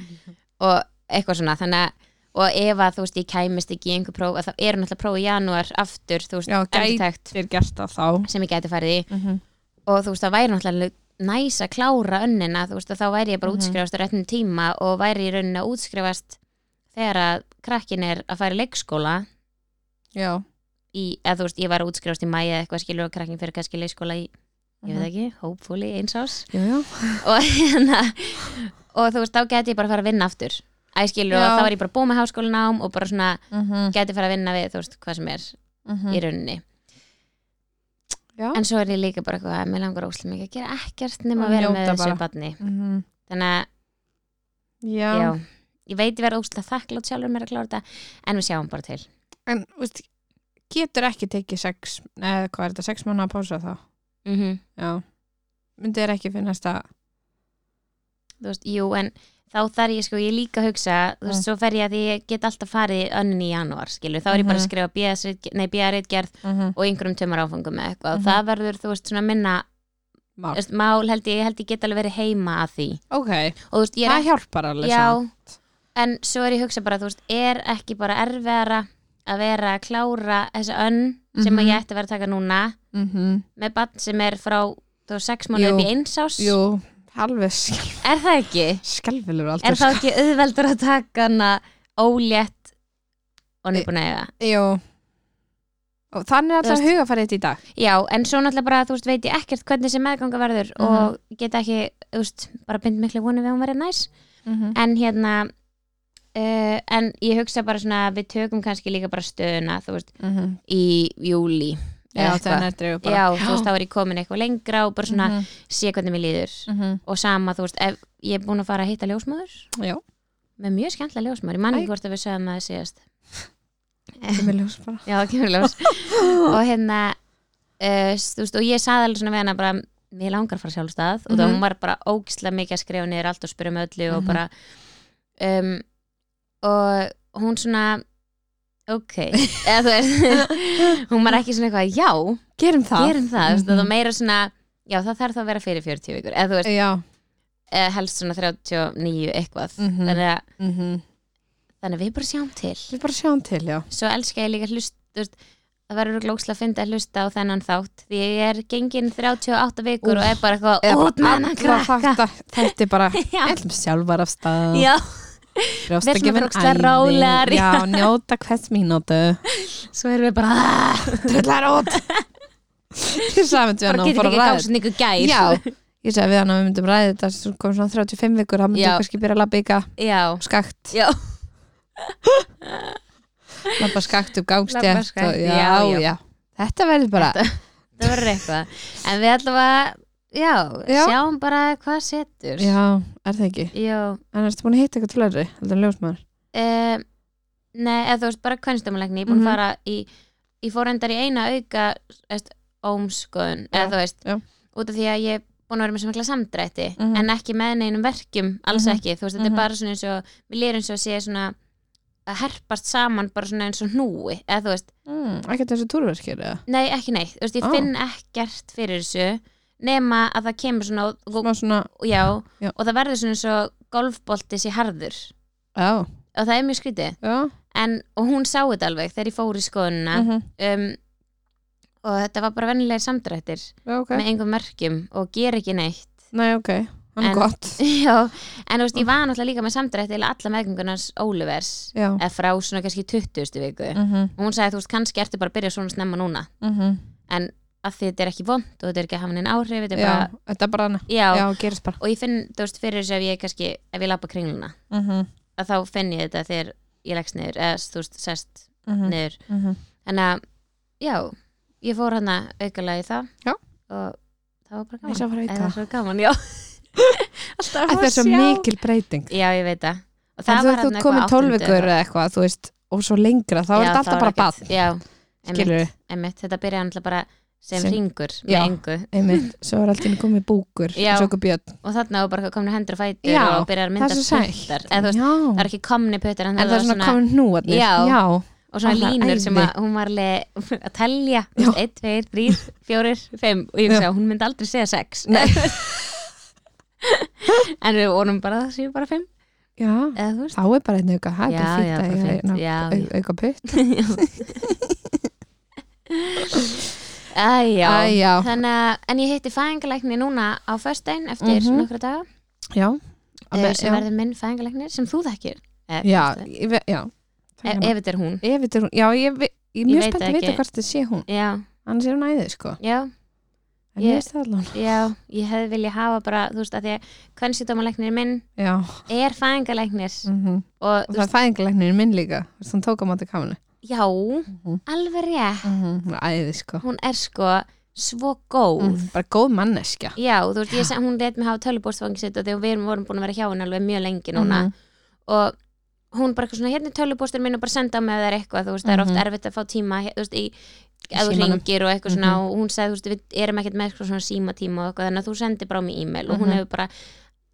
Speaker 1: og eitthvað svona, þannig að og ef að þú veist ég kæmist ekki í einhver próf þá eru náttúrulega próf í janúar aftur þú veist,
Speaker 2: Já, gæti-
Speaker 1: endurtækt
Speaker 2: Þeir gert það þá.
Speaker 1: sem ég gæti farið í
Speaker 2: Mhm.
Speaker 1: og þú veist það væri náttúrulega næs að klára önnina þú veist að þá væri ég bara
Speaker 2: Mhm.
Speaker 1: útskrifast á réttum tíma og væri í rauninni að útskrifast þegar að krakkin er að fara í leikskóla
Speaker 2: Já.
Speaker 1: í, eða þú veist ég var að útskrifast í mæi eða eitthvað skilur og krakkin fyrir kannski í leikskóla í ég
Speaker 2: Mhm.
Speaker 1: veit ekki, hopefully eins ás
Speaker 2: Já, já.
Speaker 1: og hérna og þú veist þá geti ég bara að fara að vinna aftur að skilur og
Speaker 2: Já.
Speaker 1: þá er ég bara búið með háskólinám og bara svona
Speaker 2: Mhm,
Speaker 1: geti fara að vinna við þú veist hvað sem er
Speaker 2: mhm.
Speaker 1: í rauninni
Speaker 2: Já.
Speaker 1: en svo er ég líka bara eitthvað að mér langar óslega mikið að gera ekkert nema að
Speaker 2: Að
Speaker 1: vera með
Speaker 2: njóta
Speaker 1: þessu
Speaker 2: bara.
Speaker 1: barni
Speaker 2: Mhm.
Speaker 1: þannig að já,
Speaker 2: Já.
Speaker 1: ég veit ég verð óslega þakklátt sjálfur mér að klára þetta en við sjáum bara til
Speaker 2: En, veist, getur ekki tekið sex, eða hvað er þetta, sex mánu að pása þá?
Speaker 1: mm
Speaker 2: Já. Myndi þér ekki finnast að,
Speaker 1: þú veist, jú en þá þarf ég sko, ég er líka að hugsa þú veist,
Speaker 2: Mm.
Speaker 1: svo fer ég að því ég get alltaf farið önnin í janúar, skilur, þá er ég bara að
Speaker 2: Mhm.
Speaker 1: skrifa BS, ritgerð- nei, BR-reitgerð
Speaker 2: mhm,
Speaker 1: og einhverjum tömur áfangum eða eitthvað og
Speaker 2: Mhm.
Speaker 1: það verður, þú veist, svona minna þú
Speaker 2: mál.
Speaker 1: veist, mál held ég, ég held ég get alveg verið heima að því
Speaker 2: Ok,
Speaker 1: og þú veist, ég er
Speaker 2: það hjálpar alveg samt.
Speaker 1: Já, en svo er ég að hugsa bara, þú veist, er ekki bara erfiðara að vera að klára þessa önn sem að
Speaker 2: Mhm.
Speaker 1: ég ætti að vera að taka núna
Speaker 2: Mhm.
Speaker 1: með bann sem er frá þú veist, sex
Speaker 2: Jú.
Speaker 1: mánuð upp í einsás
Speaker 2: Jú, alveg skelf,
Speaker 1: er það ekki?
Speaker 2: skelfilegur aldrei.
Speaker 1: Er það ekki auðveldur að taka hana ólétt og nýbúin að eiga?
Speaker 2: Jú. Og þannig að
Speaker 1: Þú
Speaker 2: það hugafærið þetta í dag.
Speaker 1: Já, en svo náttúrulega bara, þú veist, veit ég ekkert hvernig sem meðganga verður
Speaker 2: Mhm.
Speaker 1: og get ekki, þú veist, bara bind miklu vonið við að hún verið næs
Speaker 2: Mhm.
Speaker 1: en hérna uh, en ég hugsa bara svona að við tökum kannski líka bara stöðuna, þú veist
Speaker 2: Mhm.
Speaker 1: í júli
Speaker 2: Já, þannig að drefu bara.
Speaker 1: já, þú veist, þá er ég komin eitthvað lengra og bara svona
Speaker 2: Mhm,
Speaker 1: sé hvernig mér líður
Speaker 2: mhm.
Speaker 1: og sama, þú veist, ef ég er búin að fara að hitta ljósmaður
Speaker 2: Já,
Speaker 1: með mjög skemmtilega ljósmaður, ég man
Speaker 2: Æ.
Speaker 1: ekki hvort að við sögum að það séast
Speaker 2: það er ljós bara.
Speaker 1: já, það kemur ljós og hérna, uh, þú veist, og ég saði alveg svona við hana bara mér langar að fara sjálfstað og þá
Speaker 2: Mhm.
Speaker 1: hún var bara ógislega mikið að skrifa niður allt og spyrja með öllu og
Speaker 2: Mhm.
Speaker 1: bara um, og hún svona ok, eða þú veist hún var ekki svona eitthvað, já
Speaker 2: Gerum það.
Speaker 1: gerum það, mm -hmm.
Speaker 2: Mhm.
Speaker 1: það er meira svona já það þarf þá að vera fyrir 40 vikur eða þú veist,
Speaker 2: Já.
Speaker 1: eh, helst svona 39 eitthvað
Speaker 2: Mhm.
Speaker 1: þannig, að,
Speaker 2: Mhm.
Speaker 1: þannig að við bara sjáum til
Speaker 2: Við bara sjáum til, já.
Speaker 1: svo elska ég líka hlust þú veist, það verður glókslega að finna að hlusta á þennan þátt því ég er gengin 38 vikur og er bara eitthvað út með hann krakka
Speaker 2: þetta, þetta er bara
Speaker 1: Já.
Speaker 2: ætlum sjálfar af stað
Speaker 1: já,
Speaker 2: brjóstakjöfin
Speaker 1: Við ætlum að vera ógeðslega
Speaker 2: æði.
Speaker 1: rólegar, já.
Speaker 2: já, njóta hvers mínútu
Speaker 1: svo erum við bara "Ah,
Speaker 2: trullar út ég sagði myndi við hann
Speaker 1: bara
Speaker 2: að
Speaker 1: getur
Speaker 2: hún fór að
Speaker 1: ekki
Speaker 2: ræða
Speaker 1: gáð svona ykkur gær
Speaker 2: þetta. já, ég sagði við hann að við myndum ræða þetta sem kom svona 35 vikur, hann myndi
Speaker 1: Já.
Speaker 2: kannski byrja að labba ykkar
Speaker 1: já,
Speaker 2: skakt,
Speaker 1: já,
Speaker 2: labba skakt upp
Speaker 1: Labba
Speaker 2: gangstétt
Speaker 1: skakkt,
Speaker 2: og- já,
Speaker 1: já,
Speaker 2: já,
Speaker 1: já.
Speaker 2: þetta verður bara
Speaker 1: það verður eitthvað en við ætlum að, já,
Speaker 2: Já.
Speaker 1: sjáum bara hvað setur
Speaker 2: já, er það ekki
Speaker 1: já
Speaker 2: en erstu búin að hitta eitthvað tölari, heldur en ljósmaður
Speaker 1: uh, Nei, eða þú veist bara kvenstumlegni Ég er búin
Speaker 2: Mhm.
Speaker 1: að fara í Ég fór endar í eina auka veist, Ómskoðun, eða
Speaker 2: Já,
Speaker 1: þú veist
Speaker 2: já.
Speaker 1: Út af því að ég er búin að vera með svo mikla samdrætti
Speaker 2: Mhm.
Speaker 1: En ekki með neinum verkjum Alls
Speaker 2: Mhm.
Speaker 1: ekki, þú veist, þetta
Speaker 2: Mhm.
Speaker 1: er bara svona eins og Mér lýr eins og sé svona að herpast saman bara svona eins og hnúi eða þú veist,
Speaker 2: mm, ekki þessu túrverkir eða
Speaker 1: nei ekki neitt þú veist, ég
Speaker 2: Ó.
Speaker 1: finn ekkert fyrir þessu nema að það kemur svona og, og,
Speaker 2: Smá svona,
Speaker 1: já,
Speaker 2: Já.
Speaker 1: og það verður svona eins og golfbolti sér harður
Speaker 2: já,
Speaker 1: og það er mjög skrítið
Speaker 2: já
Speaker 1: en, og hún sá þetta alveg þegar ég fór í skoðunina
Speaker 2: mhm,
Speaker 1: um, og þetta var bara vennilega samdrættir
Speaker 2: já, ok
Speaker 1: með engum merkjum og ger ekki neitt
Speaker 2: Nei, ok, hann er
Speaker 1: En-
Speaker 2: gott
Speaker 1: Já, en þú veist, ég var náttúrulega líka með samdrætti eða alla meðgöngunars Ólivers
Speaker 2: Já,
Speaker 1: eða frá svona kannski 20. viku
Speaker 2: mhm,
Speaker 1: og hún sagði, þú veist, kannski ertu bara að byrja svona snemma núna
Speaker 2: mhm
Speaker 1: en að því þetta er ekki vond og þetta er ekki að hafa neinn áhrif þetta er
Speaker 2: Já,
Speaker 1: bara,
Speaker 2: þetta er bara hann
Speaker 1: já,
Speaker 2: Já, gerist bara
Speaker 1: og ég finn, þú veist, fyrir þessu ef ég kannski, ef ég lappa kringluna
Speaker 2: mhm,
Speaker 1: að þá finn ég þetta þegar ég leggst niður eða, þú veist, sest
Speaker 2: mhm,
Speaker 1: niður
Speaker 2: mhm.
Speaker 1: Þannig að, já, ég fór hérna hana aukalega í það
Speaker 2: Já.
Speaker 1: og það var bara
Speaker 2: Ég
Speaker 1: gaman.
Speaker 2: sá bara í
Speaker 1: Æ,
Speaker 2: það.
Speaker 1: var svo gaman, já. Alltaf að
Speaker 2: Þetta
Speaker 1: fá
Speaker 2: er svo
Speaker 1: að sjá.
Speaker 2: mikil breyting
Speaker 1: Já, ég veit það. Og
Speaker 2: En
Speaker 1: það
Speaker 2: þú
Speaker 1: var
Speaker 2: þú
Speaker 1: þarna
Speaker 2: komin
Speaker 1: eitthvað
Speaker 2: tólvikur
Speaker 1: áttundu
Speaker 2: eða eitthvað, þú veist og svo lengra, þá
Speaker 1: eitthvað.
Speaker 2: er
Speaker 1: Já, það
Speaker 2: þetta alltaf
Speaker 1: var
Speaker 2: bara bad
Speaker 1: ekkert- Já, einmitt,
Speaker 2: Skilur,
Speaker 1: einmitt. Þetta byrjaði alltaf bara sem,
Speaker 2: Sem-
Speaker 1: sem ringur með
Speaker 2: Já.
Speaker 1: engu
Speaker 2: einmitt, svo er alltaf komið búkur
Speaker 1: Já.
Speaker 2: Svo okkur björn,
Speaker 1: og þarna var bara komin hendur og fætur
Speaker 2: Já,
Speaker 1: og byrjaði að
Speaker 2: það
Speaker 1: mynda
Speaker 2: er svo sætt
Speaker 1: eða þú veist, það
Speaker 2: Já,
Speaker 1: er ekki komni pötur en
Speaker 2: en það er svona komin hnúarnir
Speaker 1: Já.
Speaker 2: Já,
Speaker 1: og svona
Speaker 2: Ó, það er
Speaker 1: línur sem
Speaker 2: æði.
Speaker 1: að hún var alveg að telja
Speaker 2: Já.
Speaker 1: 1, 2, 3, 4, 5 og ég
Speaker 2: Já.
Speaker 1: hugsa að hún myndi aldrei segja 6 en við vorum bara það séu bara 5
Speaker 2: já,
Speaker 1: eða þú veist
Speaker 2: þá er bara einn auka það er
Speaker 1: Já,
Speaker 2: bara
Speaker 1: já, bara
Speaker 2: fínt að eiga
Speaker 1: fínt.
Speaker 2: einn
Speaker 1: Já,
Speaker 2: au- auka putt
Speaker 1: Æjá,
Speaker 2: Æ, já.
Speaker 1: Þannig, að- en ég hitti fæðingalækni núna á föstudaginn eftir
Speaker 2: Mhm.
Speaker 1: nokkra daga
Speaker 2: já,
Speaker 1: eh,
Speaker 2: Að-
Speaker 1: sem
Speaker 2: já.
Speaker 1: verður minn fæðingalækni sem þú þekkir eh,
Speaker 2: já,
Speaker 1: kannski.
Speaker 2: ég ve- já.
Speaker 1: ef, ef þetta er hún
Speaker 2: Ef þetta er hún, já, ég, ve- ég er
Speaker 1: Ég
Speaker 2: mjög
Speaker 1: veit
Speaker 2: spennt að
Speaker 1: það
Speaker 2: vita
Speaker 1: ekki.
Speaker 2: hvort þetta sé hún
Speaker 1: Já,
Speaker 2: annars er hún æðið, sko
Speaker 1: já,
Speaker 2: en ég
Speaker 1: Ég-
Speaker 2: veist það allan
Speaker 1: já, ég hefði viljað hafa bara, þú veist, að því að kvennsjúdómalæknir minn
Speaker 2: já,
Speaker 1: er fæðingalæknir
Speaker 2: mhm
Speaker 1: og,
Speaker 2: og
Speaker 1: þú
Speaker 2: það er
Speaker 1: veist,
Speaker 2: fæðingalæknirinn minn líka þú veist, hann tók á móti kaminu
Speaker 1: já,
Speaker 2: Mhm.
Speaker 1: alveg rétt
Speaker 2: hún er æðið, sko
Speaker 1: hún er sko svo góð
Speaker 2: Mhm, bara góð manneskja
Speaker 1: Já, þú veist, ég, sem- hún let mig hafa tölubúrstfangin sitt og þegar við erum- vorum búin að vera hjá henni alveg mjög lengi núna
Speaker 2: Mhm.
Speaker 1: og hún bara eitthvað svona, hérna er tölubústur minn og bara senda á mig að það er eitthvað, þú veist, það er oft
Speaker 2: Mhm.
Speaker 1: erfitt að fá tíma, he- þú veist, í ef þú
Speaker 2: símanum. Mhm.
Speaker 1: ringir og eitthvað svona og hún sagði, þú veist, við erum ekkert með eitthvað svona símatíma og eitthvað, þannig að þú sendir bara á mig e-mail og hún
Speaker 2: Mhm.
Speaker 1: hefur bara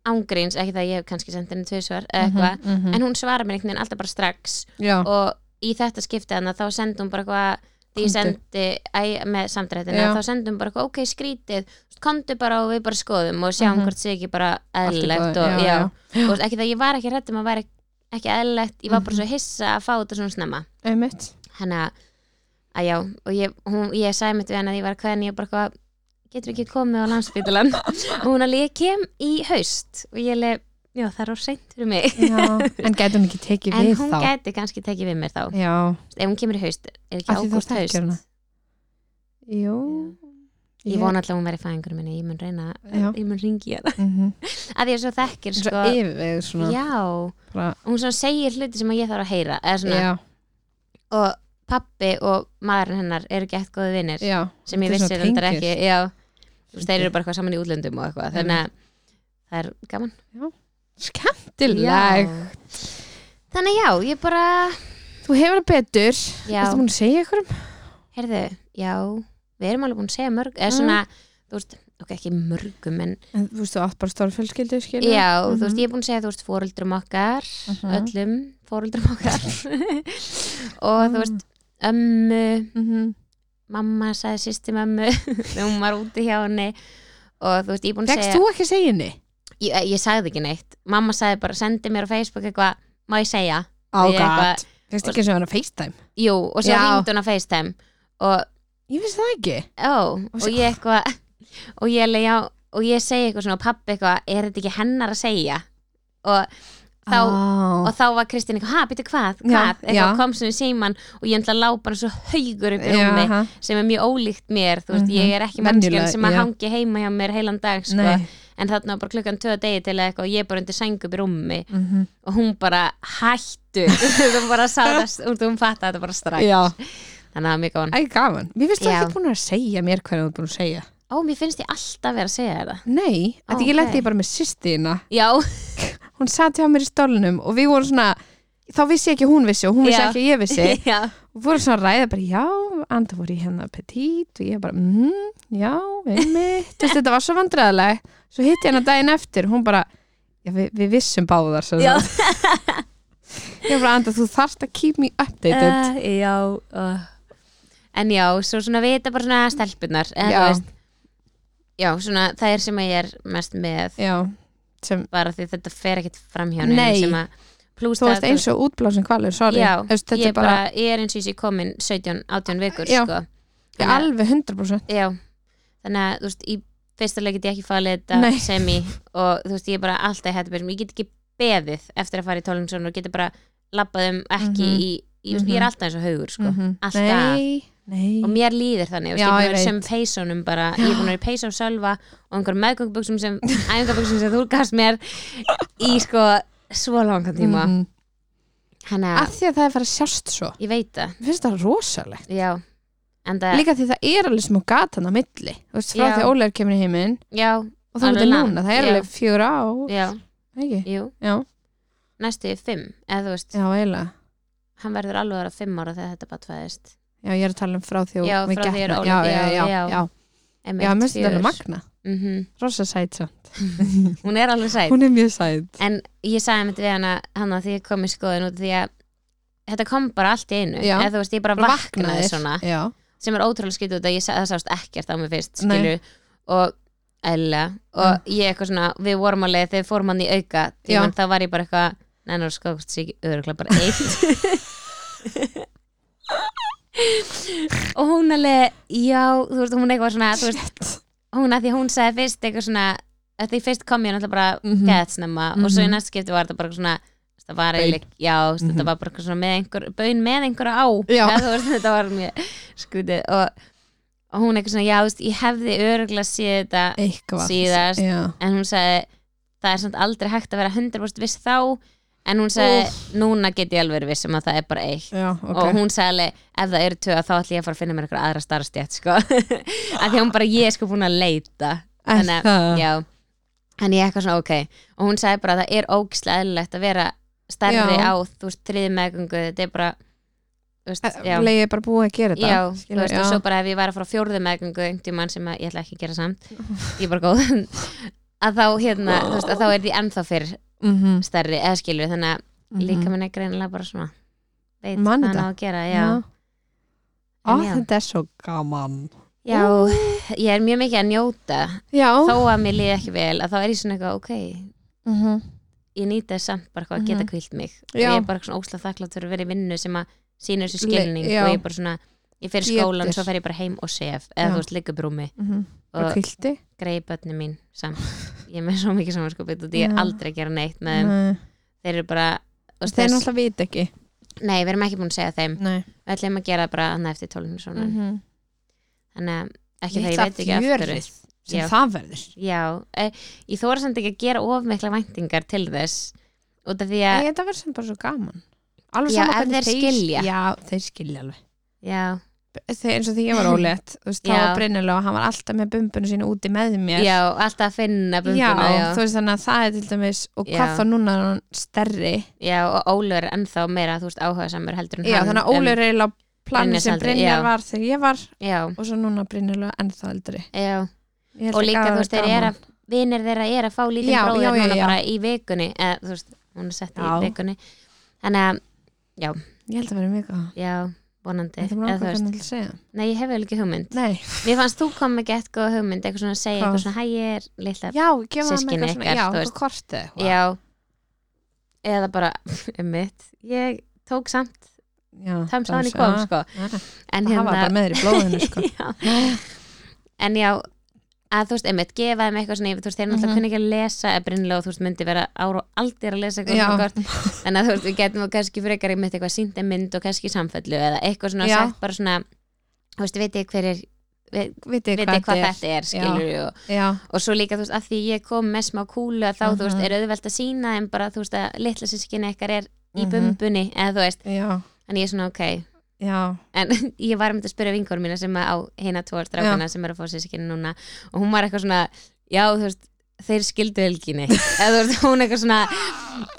Speaker 1: ángríns, ekki það að ég hef kannski sendið henni tvisvar eða
Speaker 2: Mhm,
Speaker 1: eitthvað,
Speaker 2: mhm.
Speaker 1: en hún svarar mér einhvern veginn alltaf bara strax
Speaker 2: já,
Speaker 1: og í þetta skiptið hann þá sendi hún bara eitthvað því ég
Speaker 2: Komdu.
Speaker 1: sendi æ, með samdrættina
Speaker 2: Já.
Speaker 1: þá sendi hún bara eitthvað, ok, skrítið þú veist, komdu bara og við bara skoðum og sjáum
Speaker 2: Mhm.
Speaker 1: hvort sé ekki bara
Speaker 2: allt í
Speaker 1: eðlilegt
Speaker 2: góðu,
Speaker 1: og,
Speaker 2: já, já.
Speaker 1: og ekki það ég var ekki hrætt um að væri ekki eðlilegt, ég var bara
Speaker 2: Mhm.
Speaker 1: svo hissa að fá þetta svona snemma
Speaker 2: einmitt
Speaker 1: þannig að, að já, og ég, hún, ég sagði mitt við hann að ég var hvernig ég bara eitthvað getur ekki komið á landspítalan og hún alveg, ég kem í haust og ég alveg, já, það er of seint fyrir mig
Speaker 2: já. en gæti hún ekki tekið
Speaker 1: en
Speaker 2: við
Speaker 1: hún
Speaker 2: þá
Speaker 1: gæti kannski tekið við mér þá
Speaker 2: já,
Speaker 1: ef hún kemur í haust, er ekki
Speaker 2: Af því þú
Speaker 1: ágúst
Speaker 2: þekkir
Speaker 1: haust
Speaker 2: hana. jú
Speaker 1: ég vona alltaf að hún verið fæðingur minni ég mun reyna,
Speaker 2: Já.
Speaker 1: ég mun ringi hérna
Speaker 2: Mhm.
Speaker 1: að því að svo þekkir
Speaker 2: Svo
Speaker 1: sko,
Speaker 2: yfirveguð svona
Speaker 1: já,
Speaker 2: bara-
Speaker 1: og hún svona segir hluti sem að ég þarf að heyra eða svona,
Speaker 2: já,
Speaker 1: og pappi og maðurinn hennar eru ekki eftir góði vinnir
Speaker 2: já,
Speaker 1: sem ég
Speaker 2: Þetta er
Speaker 1: vissi
Speaker 2: svona
Speaker 1: reyndar
Speaker 2: tengir.
Speaker 1: ekki já, þú veist, þeir eru bara eitthvað saman í útlöndum og eitthvað, þannig að það er gaman
Speaker 2: skemmtileg
Speaker 1: Já. þannig að já, ég bara
Speaker 2: þú hefur það betur
Speaker 1: Já.
Speaker 2: erstu búin að segja ykkur
Speaker 1: heyrðu, já, við erum alveg búin að segja mörg eða svona,
Speaker 2: Mm.
Speaker 1: þú veist, ok, ekki mörgum en
Speaker 2: en þú veist þú átt bara stóra fjölskyldu skilur
Speaker 1: Já,
Speaker 2: Mhm.
Speaker 1: þú veist, ég er búin að segja, þú veist, fóruldrum okkar,
Speaker 2: Mhm.
Speaker 1: öllum fóruldrum okkar og þú veist, ömmu,
Speaker 2: Mhm.
Speaker 1: mamma sagði sýsti mömmu þegar hún var úti hjá henni og þú veist, ég er búin að
Speaker 2: Fékkst
Speaker 1: segja,
Speaker 2: þú ekki að segja henni?
Speaker 1: ég, eh, ég sagði ekki neitt, mamma sagði bara, sendi mér á Facebook eitthvað, má ég segja?
Speaker 2: Á
Speaker 1: Ég
Speaker 2: gæt
Speaker 1: eitthvað-
Speaker 2: Fyrst ekki sem hann að FaceTime
Speaker 1: Jú, og svo
Speaker 2: Já.
Speaker 1: ringdi hún á FaceTime og,
Speaker 2: Ég finnst það ekki
Speaker 1: ó,
Speaker 2: Og
Speaker 1: og
Speaker 2: svo-
Speaker 1: ég eitthvað, og ég alveg, já, og ég segi eitthvað svona, pappi eitthvað, er þetta ekki hennar að segja? Og þá,
Speaker 2: ah.
Speaker 1: og þá var Kristín eitthvað, ha, býttu hvað,
Speaker 2: Já,
Speaker 1: hvað
Speaker 2: já.
Speaker 1: eitthvað kom sem við síman og ég ætla að lápa hann svo haugur upp í rúmi
Speaker 2: Jaha.
Speaker 1: sem er mjög ólíkt mér, þú veist,
Speaker 2: Mhm.
Speaker 1: ég er ekki
Speaker 2: Venjulega,
Speaker 1: mannskjan sem að
Speaker 2: já.
Speaker 1: hangi heima hjá mér heilan dag, sko
Speaker 2: Nei.
Speaker 1: en þarna var bara klukkan tvö að degi til eða eitthvað og ég er bara undir sæng upp í rúmi
Speaker 2: Mhm.
Speaker 1: og hún bara hættu þú bara sá það, þú- hún fatt þetta bara strax
Speaker 2: Já,
Speaker 1: þannig að það var mjög góðan
Speaker 2: æg gaman Mér finnst þú
Speaker 1: Já.
Speaker 2: ekki búin að segja mér hvernig þú er búin að segja
Speaker 1: ó, mér finnst ég alltaf vera að segja þér það Ó,
Speaker 2: Nei, þetta ég leti
Speaker 1: ok.
Speaker 2: ég bara með sýstina
Speaker 1: já,
Speaker 2: Hún sat hjá mér í stólnum og við vorum svona Þá vissi ég ekki að hún vissi og hún vissi
Speaker 1: Já.
Speaker 2: ekki að ég vissi
Speaker 1: já,
Speaker 2: og vorum svona að ræða bara já, anda voru í hennar petit og ég bara, mm, já, einmitt Þú veist, þetta var svo vandræðileg svo hitti ég hennar daginn eftir, hún bara já, við, við vissum báðar svo
Speaker 1: já,
Speaker 2: ég bara, anda, þú þarft að keep me updated
Speaker 1: uh, já uh. en já, svo svona vita bara svona stelpunar eða
Speaker 2: Já.
Speaker 1: þú veist já, svona það er sem að ég er mest með
Speaker 2: já, sem,
Speaker 1: bara því þetta fer ekkit fram hjá neinum
Speaker 2: Nei.
Speaker 1: sem að plús
Speaker 2: þú veist eins og útblásin kvalur, sorry
Speaker 1: já,
Speaker 2: Þú veist, þetta
Speaker 1: ég,
Speaker 2: er bara,
Speaker 1: bara, ég er eins og ég sé komin 17-18 vikur
Speaker 2: Já.
Speaker 1: sko.
Speaker 2: ég
Speaker 1: Þannig að-
Speaker 2: alveg 100%
Speaker 1: já, þannig að þú veist í fyrsta leik get ég ekki falið þetta
Speaker 2: Nei.
Speaker 1: sem í og þú veist ég er bara alltaf í hættubyrjum ég get ekki beðið eftir að fara í tólingsson og geta bara labbað um ekki
Speaker 2: Mhm.
Speaker 1: í, í, mm ég er
Speaker 2: Mhm.
Speaker 1: alltaf eins og haugur sko.
Speaker 2: Mhm.
Speaker 1: alltaf.
Speaker 2: nei, nei
Speaker 1: og mér líður þannig, þú veist,
Speaker 2: Já,
Speaker 1: ég er búin að
Speaker 2: ég
Speaker 1: vera
Speaker 2: veit.
Speaker 1: sem peysunum bara, ég er búin að vera í peysa og sölva og einhverjum meðgöngubuxum sem æfingabuxum sem þú gafst mér í sko svo langan tíma
Speaker 2: Mhm.
Speaker 1: þannig
Speaker 2: að
Speaker 1: að
Speaker 2: því að það er farið að sjást svo
Speaker 1: ég veit það,
Speaker 2: mér finnst það rosalegt
Speaker 1: já en það,
Speaker 2: líka því það er alveg smá gatan á milli þú veist, frá
Speaker 1: Eh. Já.
Speaker 2: því að Ólegar kemur í heiminn
Speaker 1: já,
Speaker 2: og það
Speaker 1: Alveg
Speaker 2: er
Speaker 1: langt,
Speaker 2: núna, það er
Speaker 1: já.
Speaker 2: alveg fjögur á
Speaker 1: já,
Speaker 2: ekki,
Speaker 1: jú
Speaker 2: já,
Speaker 1: næstu í fimm, eða þú veist
Speaker 2: já, eiginlega
Speaker 1: hann verður alveg aðra fimm ára þegar þetta bara tvæðist
Speaker 2: já, ég er að tala um frá því og
Speaker 1: Já,
Speaker 2: við
Speaker 1: frá því
Speaker 2: gettum-
Speaker 1: er Óli-
Speaker 2: já, já,
Speaker 1: já,
Speaker 2: já,
Speaker 1: já.
Speaker 2: já, já, mér finnst þetta alveg
Speaker 1: magn
Speaker 2: magna rosa sæt svo,
Speaker 1: Mhm. hún er alveg sæt
Speaker 2: hún er mjög sæt
Speaker 1: en ég sagði mitt við hana hann að því ég kom í skoðun út af því að þetta kom bara allt í einu
Speaker 2: Já.
Speaker 1: eða þú veist, ég bara
Speaker 2: Bara
Speaker 1: vaknaði svona
Speaker 2: já,
Speaker 1: sem er ótrúlega skrítið út að ég sa- það sást ekkert á mig fyrst
Speaker 2: Nei.
Speaker 1: skilur, og eðla og ég eitthvað svona, við vorum alveg þegar við fórum hann í auka tíman, þá var ég bara eitthvað neina, skókst sér ekki öruglega bara eitt og hún alveg já, þú veist, hún eitthvað svona þú veist,
Speaker 2: Shit.
Speaker 1: hún að því hún sagði fyrst eitthvað svona að því fyrst kom ég náttúrulega bara mm
Speaker 2: Mhm.
Speaker 1: snemma og svo í
Speaker 2: Mhm.
Speaker 1: næsta skipti var þetta bara svona þetta var
Speaker 2: Baun.
Speaker 1: eiginlega, já, mm -hmm. þetta
Speaker 2: Mhm.
Speaker 1: var bara eitthvað svona með einhver, bön með einhverja á
Speaker 2: Já.
Speaker 1: Eða þú veist, þetta var mjög skrítið og, og hún eitthvað svona, já, þú veist, ég hefði öruglega séð þetta
Speaker 2: eitthvað
Speaker 1: síðast
Speaker 2: já,
Speaker 1: en hún sagði, það er samt aldrei hægt að vera 100% viss þá en hún sagði, núna get ég alveg verið viss um að það er bara eitt
Speaker 2: já, ok
Speaker 1: og hún sagði alveg, ef það eru tvö þá ætlum ég að fara að finna mér einhverja aðra starfstjætt sko. að því hún bara, ég er sko búin að leita
Speaker 2: Er
Speaker 1: þannig
Speaker 2: það?
Speaker 1: já, en ég eitthvað svona ok og hún sagði bara að það er ógislega eðlilegt að vera stærri
Speaker 2: Já.
Speaker 1: á, þú veist, þriði meðgöngu þetta er bara þú veist, já,
Speaker 2: leiði bara búið að gera þetta
Speaker 1: já, þú
Speaker 2: skilur,
Speaker 1: veist,
Speaker 2: já.
Speaker 1: og svo bara ef ég væri að fara á fjórði meðgöngu einhvern mann sem að ég ætla ekki að gera samt ég er bara góð að þá, hérna, þú veist, að þá er því ennþá fyrr
Speaker 2: Mhm,
Speaker 1: stærri, eða skilur, þannig að
Speaker 2: mhm.
Speaker 1: líka minn er greinilega bara svona veit
Speaker 2: Man
Speaker 1: hvað hann á
Speaker 2: þetta.
Speaker 1: að gera, já.
Speaker 2: Já. Á,
Speaker 1: En já.
Speaker 2: þetta er svo gaman
Speaker 1: Já, ég er mjög mikið að njóta
Speaker 2: já
Speaker 1: þó að mér líði ekki vel að þá er ég svona eitthvað, ok
Speaker 2: Mhm.
Speaker 1: ég nýta þess samt bara hvað að
Speaker 2: Mhm.
Speaker 1: geta kvilt mig og
Speaker 2: Já.
Speaker 1: ég er bara svona óslega þakklátt fyrir að vera í vinnu sem að sína þessu skilning
Speaker 2: Le- já.
Speaker 1: og ég er bara svona, ég fer í skólan
Speaker 2: Getur.
Speaker 1: svo fer ég bara heim og sef, eða
Speaker 2: Já.
Speaker 1: þú veist, liggur brúmi
Speaker 2: Mhm. og
Speaker 1: og
Speaker 2: kvilti
Speaker 1: greiði börni mín samt ég er með svo mikið samanskupið og ég er
Speaker 2: Já.
Speaker 1: aldrei að gera neitt með þeim,
Speaker 2: Nei.
Speaker 1: þeir eru bara og
Speaker 2: þeir Mm.
Speaker 1: þess-
Speaker 2: náttúrulega vita ekki
Speaker 1: Nei, við erum ekki búin að segja þeim
Speaker 2: Nei.
Speaker 1: við ætlum að gera það bara hann eftir tólinu svona
Speaker 2: Mhm.
Speaker 1: þannig að ekki það ég veit ekki
Speaker 2: Litla
Speaker 1: af hverju
Speaker 2: fjörið sem
Speaker 1: Já.
Speaker 2: það verður
Speaker 1: Já, e, ég þóra samt ekki að gera of mikla væntingar til þess út af því
Speaker 2: ja.
Speaker 1: að,
Speaker 2: þetta verður sem bara svo gaman alveg
Speaker 1: Já,
Speaker 2: sama
Speaker 1: ef
Speaker 2: hvernig
Speaker 1: þeir skilja.
Speaker 2: já, þeir skilja alveg
Speaker 1: já,
Speaker 2: þeir, eins og því ég var ólétt þú veist, þá
Speaker 1: Já.
Speaker 2: var Brynnilega og hann var alltaf með bumbunum sínu úti með mér
Speaker 1: já, alltaf að finna
Speaker 2: já,
Speaker 1: bumbuna, já,
Speaker 2: þú veist þannig að það er til dæmis og hvað
Speaker 1: Já.
Speaker 2: þá núna er hann stærri
Speaker 1: já, og Ólur er ennþá meira, þú veist, áhuga samur heldur Mhm. en
Speaker 2: já,
Speaker 1: hann. Um,
Speaker 2: þannig að Óli er eiginlega planið
Speaker 1: Brynjar
Speaker 2: sem
Speaker 1: aldrei, já.
Speaker 2: Brynjar var þegar ég var
Speaker 1: Um, já,
Speaker 2: og svo núna Brynnilega ennþá eldri
Speaker 1: já, og líka, þú veist, þeir eru að, vinir þeirra er að fá lítið
Speaker 2: Já,
Speaker 1: bróður
Speaker 2: já, já,
Speaker 1: núna
Speaker 2: já.
Speaker 1: bara í vikunni, eða, þú veist, hún er sett í
Speaker 2: Já.
Speaker 1: vikunni, þannig að,
Speaker 2: ég held að vera mjög gaman
Speaker 1: já, vonandi,
Speaker 2: þetta er
Speaker 1: eða
Speaker 2: mjög
Speaker 1: þú
Speaker 2: gaman
Speaker 1: veist,
Speaker 2: að segja
Speaker 1: nei, ég hef vel ekki hugmynd.
Speaker 2: nei,
Speaker 1: Mér fannst þú kom ekki eitthvað góða hugmynd, eitthvað svona að segja,
Speaker 2: Hvað?
Speaker 1: eitthvað svona, hæ, ég er litla
Speaker 2: já, gefa hann
Speaker 1: Systkini
Speaker 2: eitthvað svona
Speaker 1: ykkar,
Speaker 2: já,
Speaker 1: þú
Speaker 2: eitthvað
Speaker 1: veist.
Speaker 2: kortið eitthvað.
Speaker 1: Já Eða bara, mitt Ég tók samt
Speaker 2: já,
Speaker 1: Tæms
Speaker 2: það
Speaker 1: á hann í
Speaker 2: er-
Speaker 1: kom,
Speaker 2: já,
Speaker 1: sko
Speaker 2: já.
Speaker 1: En
Speaker 2: Ah. það var bara
Speaker 1: hérna
Speaker 2: með þér í blóðinu sko.
Speaker 1: já. En já að þú veist, einmitt, gefa þeim eitthvað svona yfir, þú veist, þeir náttúrulega
Speaker 2: Mhm.
Speaker 1: kunni ekki að lesa eða brinnilega og þú veist, myndi vera ára og aldrei að lesa eitthvað
Speaker 2: Já.
Speaker 1: svona gort þannig að þú veist, við getum kannski frekar einmitt eitthvað sínt en mynd og kannski samfellu eða eitthvað svona
Speaker 2: Já.
Speaker 1: sagt bara svona, þú veist, veit ég hver er veit
Speaker 2: vitið
Speaker 1: ég hvað, þetta er, skilur og,
Speaker 2: er já,
Speaker 1: og svo líka, þú veist, að því ég kom með smá kúlu að þá, þú veist,
Speaker 2: Mhm.
Speaker 1: er auðvelt að sína en bara, þú veist, að litla sískinni ykkar er í
Speaker 2: Mhm.
Speaker 1: bumbunni, eða þú veist
Speaker 2: já,
Speaker 1: en ég er svona ok,
Speaker 2: já,
Speaker 1: en ég var um að spyrja vingur mína sem að á hina tvo strákana sem eru að fá sískinu núna og hún var eitthvað svona, já þú veist þeir skildu helginni eða þú veist, hún eitthvað svona